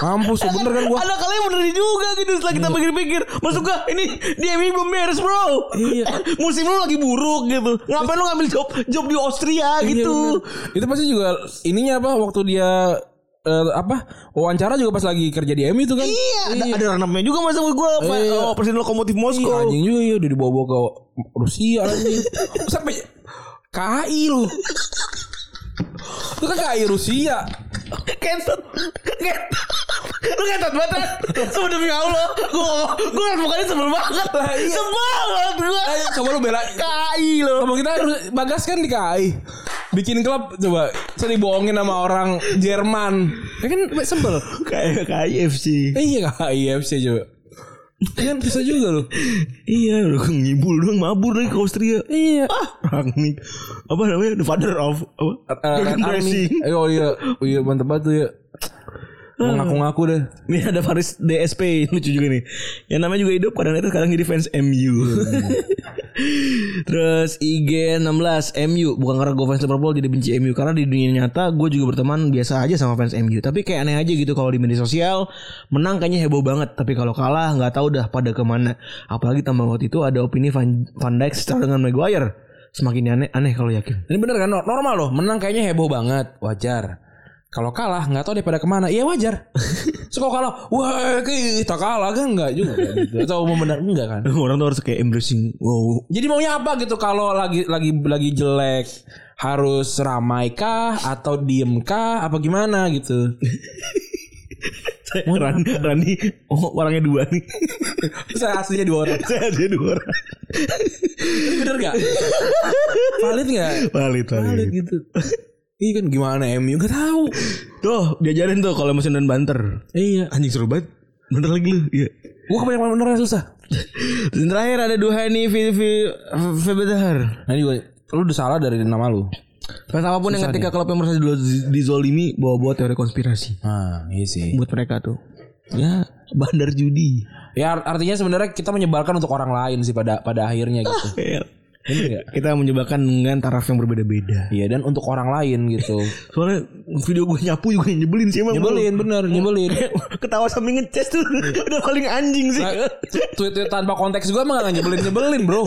S3: mampus tuh, bener kan gua
S4: Ada kalian bener juga gitu setelah kita pikir-pikir. Maksud gue ini di MU belum beres bro.
S3: Iya.
S4: Musim lu lagi buruk gitu. Ngapain lu ngambil job job di Austria
S3: Iya,
S4: gitu.
S3: bener. itu pasti juga ininya apa waktu dia eh, apa wawancara juga pas lagi kerja di MU itu kan
S4: Iya, ada, ada runner-up-nya juga masa gue
S3: Iya.
S4: oh, presiden lokomotif
S3: Iya,
S4: Moskow.
S3: anjing juga iya udah dibawa-bawa ke Rusia anjing sampai KI lu itu kan KI Rusia
S4: Kentot. Kentot. Lu kentot banget. Ran. Sumpah demi Allah. Gue gue liat mukanya sebel banget. Sebel banget gue.
S3: Ayo, iya. coba lu bela
S4: KI lo.
S3: Ngomong kita harus bagas kan di KAI bikin klub coba saya dibohongin sama orang Jerman ya kan sebel
S4: Kayak KIFC.
S3: Eh, iya KAI FC coba kan bisa juga loh
S4: Iya, lu ngibul doang mabur lagi ke Austria.
S3: iya
S4: Rangnick apa namanya the father of apa
S3: Eh, Red Army.
S4: dressing
S3: Eh, oh iya Oh, iya mantep banget tuh ya mau ngaku-ngaku deh
S4: ini ada Faris DSP lucu juga nih yang namanya juga hidup kadang itu kadang jadi fans MU terus IG 16 MU bukan karena gue fans Liverpool jadi benci MU karena di dunia nyata gue juga berteman biasa aja sama fans MU tapi kayak aneh aja gitu kalau di media sosial menang kayaknya heboh banget tapi kalau kalah nggak tahu dah pada kemana apalagi tambah waktu itu ada opini Van, Van Dijk secara dengan Maguire semakin aneh aneh kalau yakin
S3: ini bener kan normal loh menang kayaknya heboh banget wajar kalau kalah nggak tahu daripada kemana iya wajar so kalau kalah wah kita kalah kan nggak juga gitu. atau mau benar enggak kan
S4: orang tuh harus kayak embracing wow
S3: Jadi maunya apa gitu kalau lagi lagi lagi jelek harus ramai kah atau diem kah apa gimana gitu.
S4: Ran, Rani oh, orangnya dua nih.
S3: Terus saya aslinya dua orang.
S4: Saya ada dua orang.
S3: Bener gak? Valid gak?
S4: Valid, valid.
S3: Valid gitu. Iya kan gimana MU gak tahu.
S4: Tuh, diajarin tuh kalau mesin dan banter.
S3: Iya.
S4: Anjing seru banget. Bener lagi lu. Iya.
S3: Gua kebanyakan benernya susah.
S4: Dan terakhir ada Duhani Vivi Febedar.
S3: Nah ini gue lu udah salah dari nama lu.
S4: Fans apapun yang ketika klub yang merasa di- dizolimi bawa-bawa teori konspirasi
S3: Ah, iya sih.
S4: buat mereka tuh. Ya, bandar judi.
S3: Ya art- artinya sebenarnya kita menyebalkan untuk orang lain sih pada pada akhirnya gitu. Bener gak?
S4: Kita menjebakan dengan taraf yang berbeda-beda.
S3: Iya dan untuk orang lain gitu.
S4: Soalnya video gue nyapu juga yang nyebelin sih emang.
S3: Nyebelin Iya. bener, nyebelin.
S4: Ketawa sambil ngeces tuh udah paling anjing sih.
S3: tweet tweet Nah, tanpa konteks gue emang gak nyebelin nyebelin bro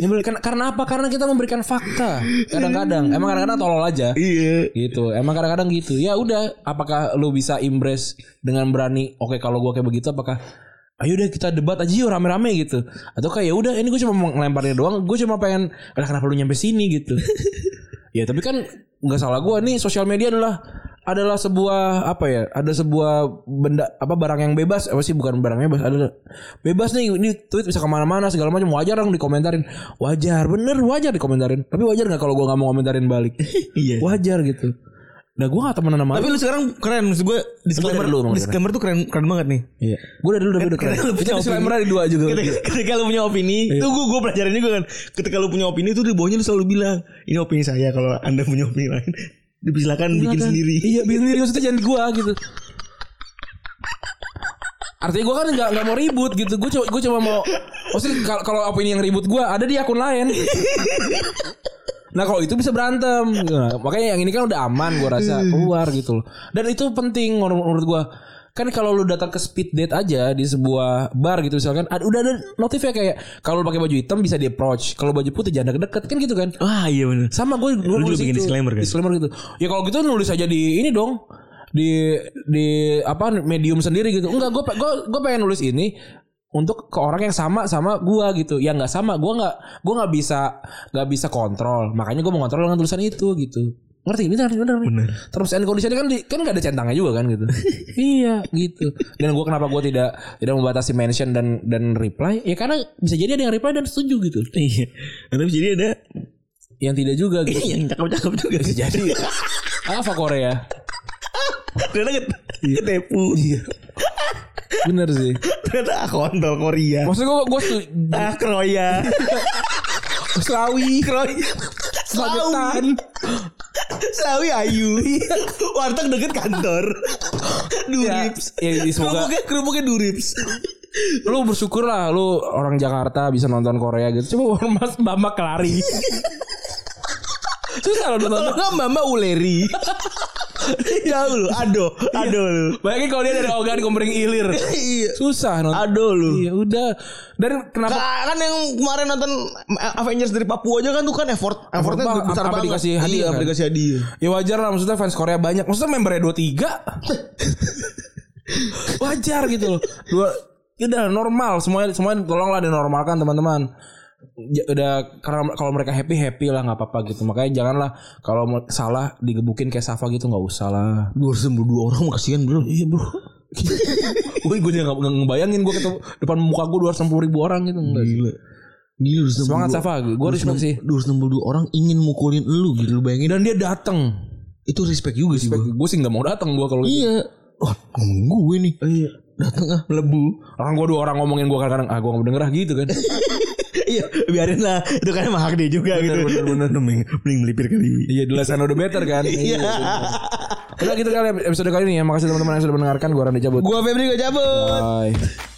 S3: nyebelin Ken- karena apa karena kita memberikan fakta kadang-kadang emang kadang-kadang tolol aja
S4: Iya.
S3: gitu emang kadang-kadang gitu ya udah apakah lu bisa impress dengan berani oke kalau gue kayak begitu apakah ayo udah kita debat aja yuk rame-rame gitu atau kayak ya udah ini gue cuma mau ngelemparnya doang gue cuma pengen lah kenapa lu nyampe sini gitu ya tapi kan nggak salah gue nih sosial media adalah Ah, adalah sebuah apa ya ada sebuah benda apa barang yang bebas apa sih bukan barang bebas ada bebas nih ini tweet bisa kemana-mana segala macam wajar dong dikomentarin wajar bener wajar dikomentarin tapi wajar nggak kalau gue nggak mau komentarin balik
S4: Iya.
S3: wajar gitu nah gue gak temenan sama
S4: Tapi lu sekarang keren maksud gue disclaimer
S3: Lu gitu? dulu, Bang.
S4: disclaimer tuh keren keren banget nih.
S3: Iya. Gue dari dulu udah beda keren.
S4: Ketika lu
S3: Itu
S4: punya
S3: disclaimer
S4: opini.
S3: ada dua juga.
S4: Ketika, ketika lu punya opini, tuh gue gue pelajarin juga kan. Ketika lu punya opini tuh di bawahnya lu selalu bilang, ini opini saya kalau Anda punya opini lain Dipersilakan bikin sendiri.
S3: Iya bikin sendiri maksudnya jangan di gua gitu. Artinya gua kan nggak nggak mau ribut gitu. Gua cuma gua cuma mau maksudnya kalau kalau opini yang ribut gua ada di akun lain. Nah kalau itu bisa berantem Nah, Makanya yang ini kan udah aman gua rasa Keluar gitu loh Dan itu penting menur- menurut gua Kan kalau lu datang ke speed date aja Di sebuah bar gitu misalkan ada, Udah ada notifnya kayak Kalau lu pakai baju hitam bisa di approach Kalau baju putih jangan deket-deket Kan gitu kan
S4: Wah iya benar.
S3: sama gue dulu
S4: Lu dulu
S3: nulis
S4: bikin
S3: itu.
S4: disclaimer kan?
S3: Disclaimer gitu. Ya kalau gitu nulis aja di ini dong di di apa medium sendiri gitu. Enggak, gue gue gue pengen nulis ini untuk ke orang yang sama sama gua gitu. Ya nggak sama, gua nggak gua nggak bisa nggak bisa kontrol. Makanya gua mau kontrol dengan tulisan itu gitu. Ngerti ini benar benar.
S4: Bener.
S3: Terus end conditionnya kan di, kan nggak ada centangnya juga kan gitu. iya gitu. Dan gua kenapa gua tidak tidak membatasi mention dan dan reply? Ya karena bisa jadi ada yang reply dan setuju gitu.
S4: Iya. Tapi jadi ada
S3: Yang tidak juga gitu.
S4: Iya, yang cakep-cakep juga.
S3: Bisa jadi apa Korea?
S4: Ternyata ke, ketipu.
S3: Bener sih.
S4: Ternyata kontol Korea.
S3: Maksud gue gue setuju.
S4: Ah Kroya.
S3: Selawi,
S4: Kroya.
S3: Selatan.
S4: Sawi Ayu. Warteg deket kantor.
S3: Ya,
S4: Durips.
S3: ya, semoga
S4: Kerupuknya kerupuknya Durips.
S3: lu bersyukur lah lu orang Jakarta bisa nonton Korea gitu. Coba ormas Bama kelari. Susah lo nonton.
S4: Enggak Mama Uleri. Jauh lu, ado, ado
S3: Iya.
S4: lu.
S3: Bayangin kalau dia dari Ogan Komering Ilir.
S4: Iya.
S3: Susah nonton.
S4: Ado lu.
S3: Iya udah. Dan kenapa
S4: Ka- kan yang kemarin nonton Avengers dari Papua aja kan tuh kan effort effortnya
S3: Apa-
S4: besar
S3: apa
S4: banget.
S3: dikasih hadiah
S4: Iya, apa
S3: kan?
S4: dikasih hadiah.
S3: Ya wajar lah maksudnya fans Korea banyak. Maksudnya membernya 23. wajar gitu loh. Dua ya udah normal semuanya semuanya tolonglah dinormalkan teman-teman. Ya, udah karena kalau mereka happy happy lah nggak apa-apa gitu. Makanya janganlah kalau mau salah digebukin kayak Safa gitu nggak usah lah.
S4: Dua dua orang kasihan bro. Iya bro.
S3: Gue gue nggak nggak ngebayangin gue ketemu depan muka gue 260 ribu orang gitu. Nggak sih.
S4: Gila. Gila dua
S3: Semangat Safa, gue respect sih.
S4: Dua orang ingin mukulin lu gitu lu bayangin.
S3: Dan dia dateng.
S4: Itu respect juga sih bro.
S3: Gue sih nggak mau dateng gue kalau gitu.
S4: Iya. Wah ngomongin gue nih. Iya. Dateng ah melebu.
S3: orang gue dua orang ngomongin gue kadang-kadang ah gue nggak mau denger ah gitu kan.
S4: Iya biarin lah Itu kan emang hak dia juga gitu Bener bener Mending, mending melipir kali
S3: Iya the less I know the better kan Iya Udah gitu kali episode kali ini ya Makasih teman-teman yang sudah mendengarkan Gue Randy cabut
S4: Gue Febri gue cabut
S3: Bye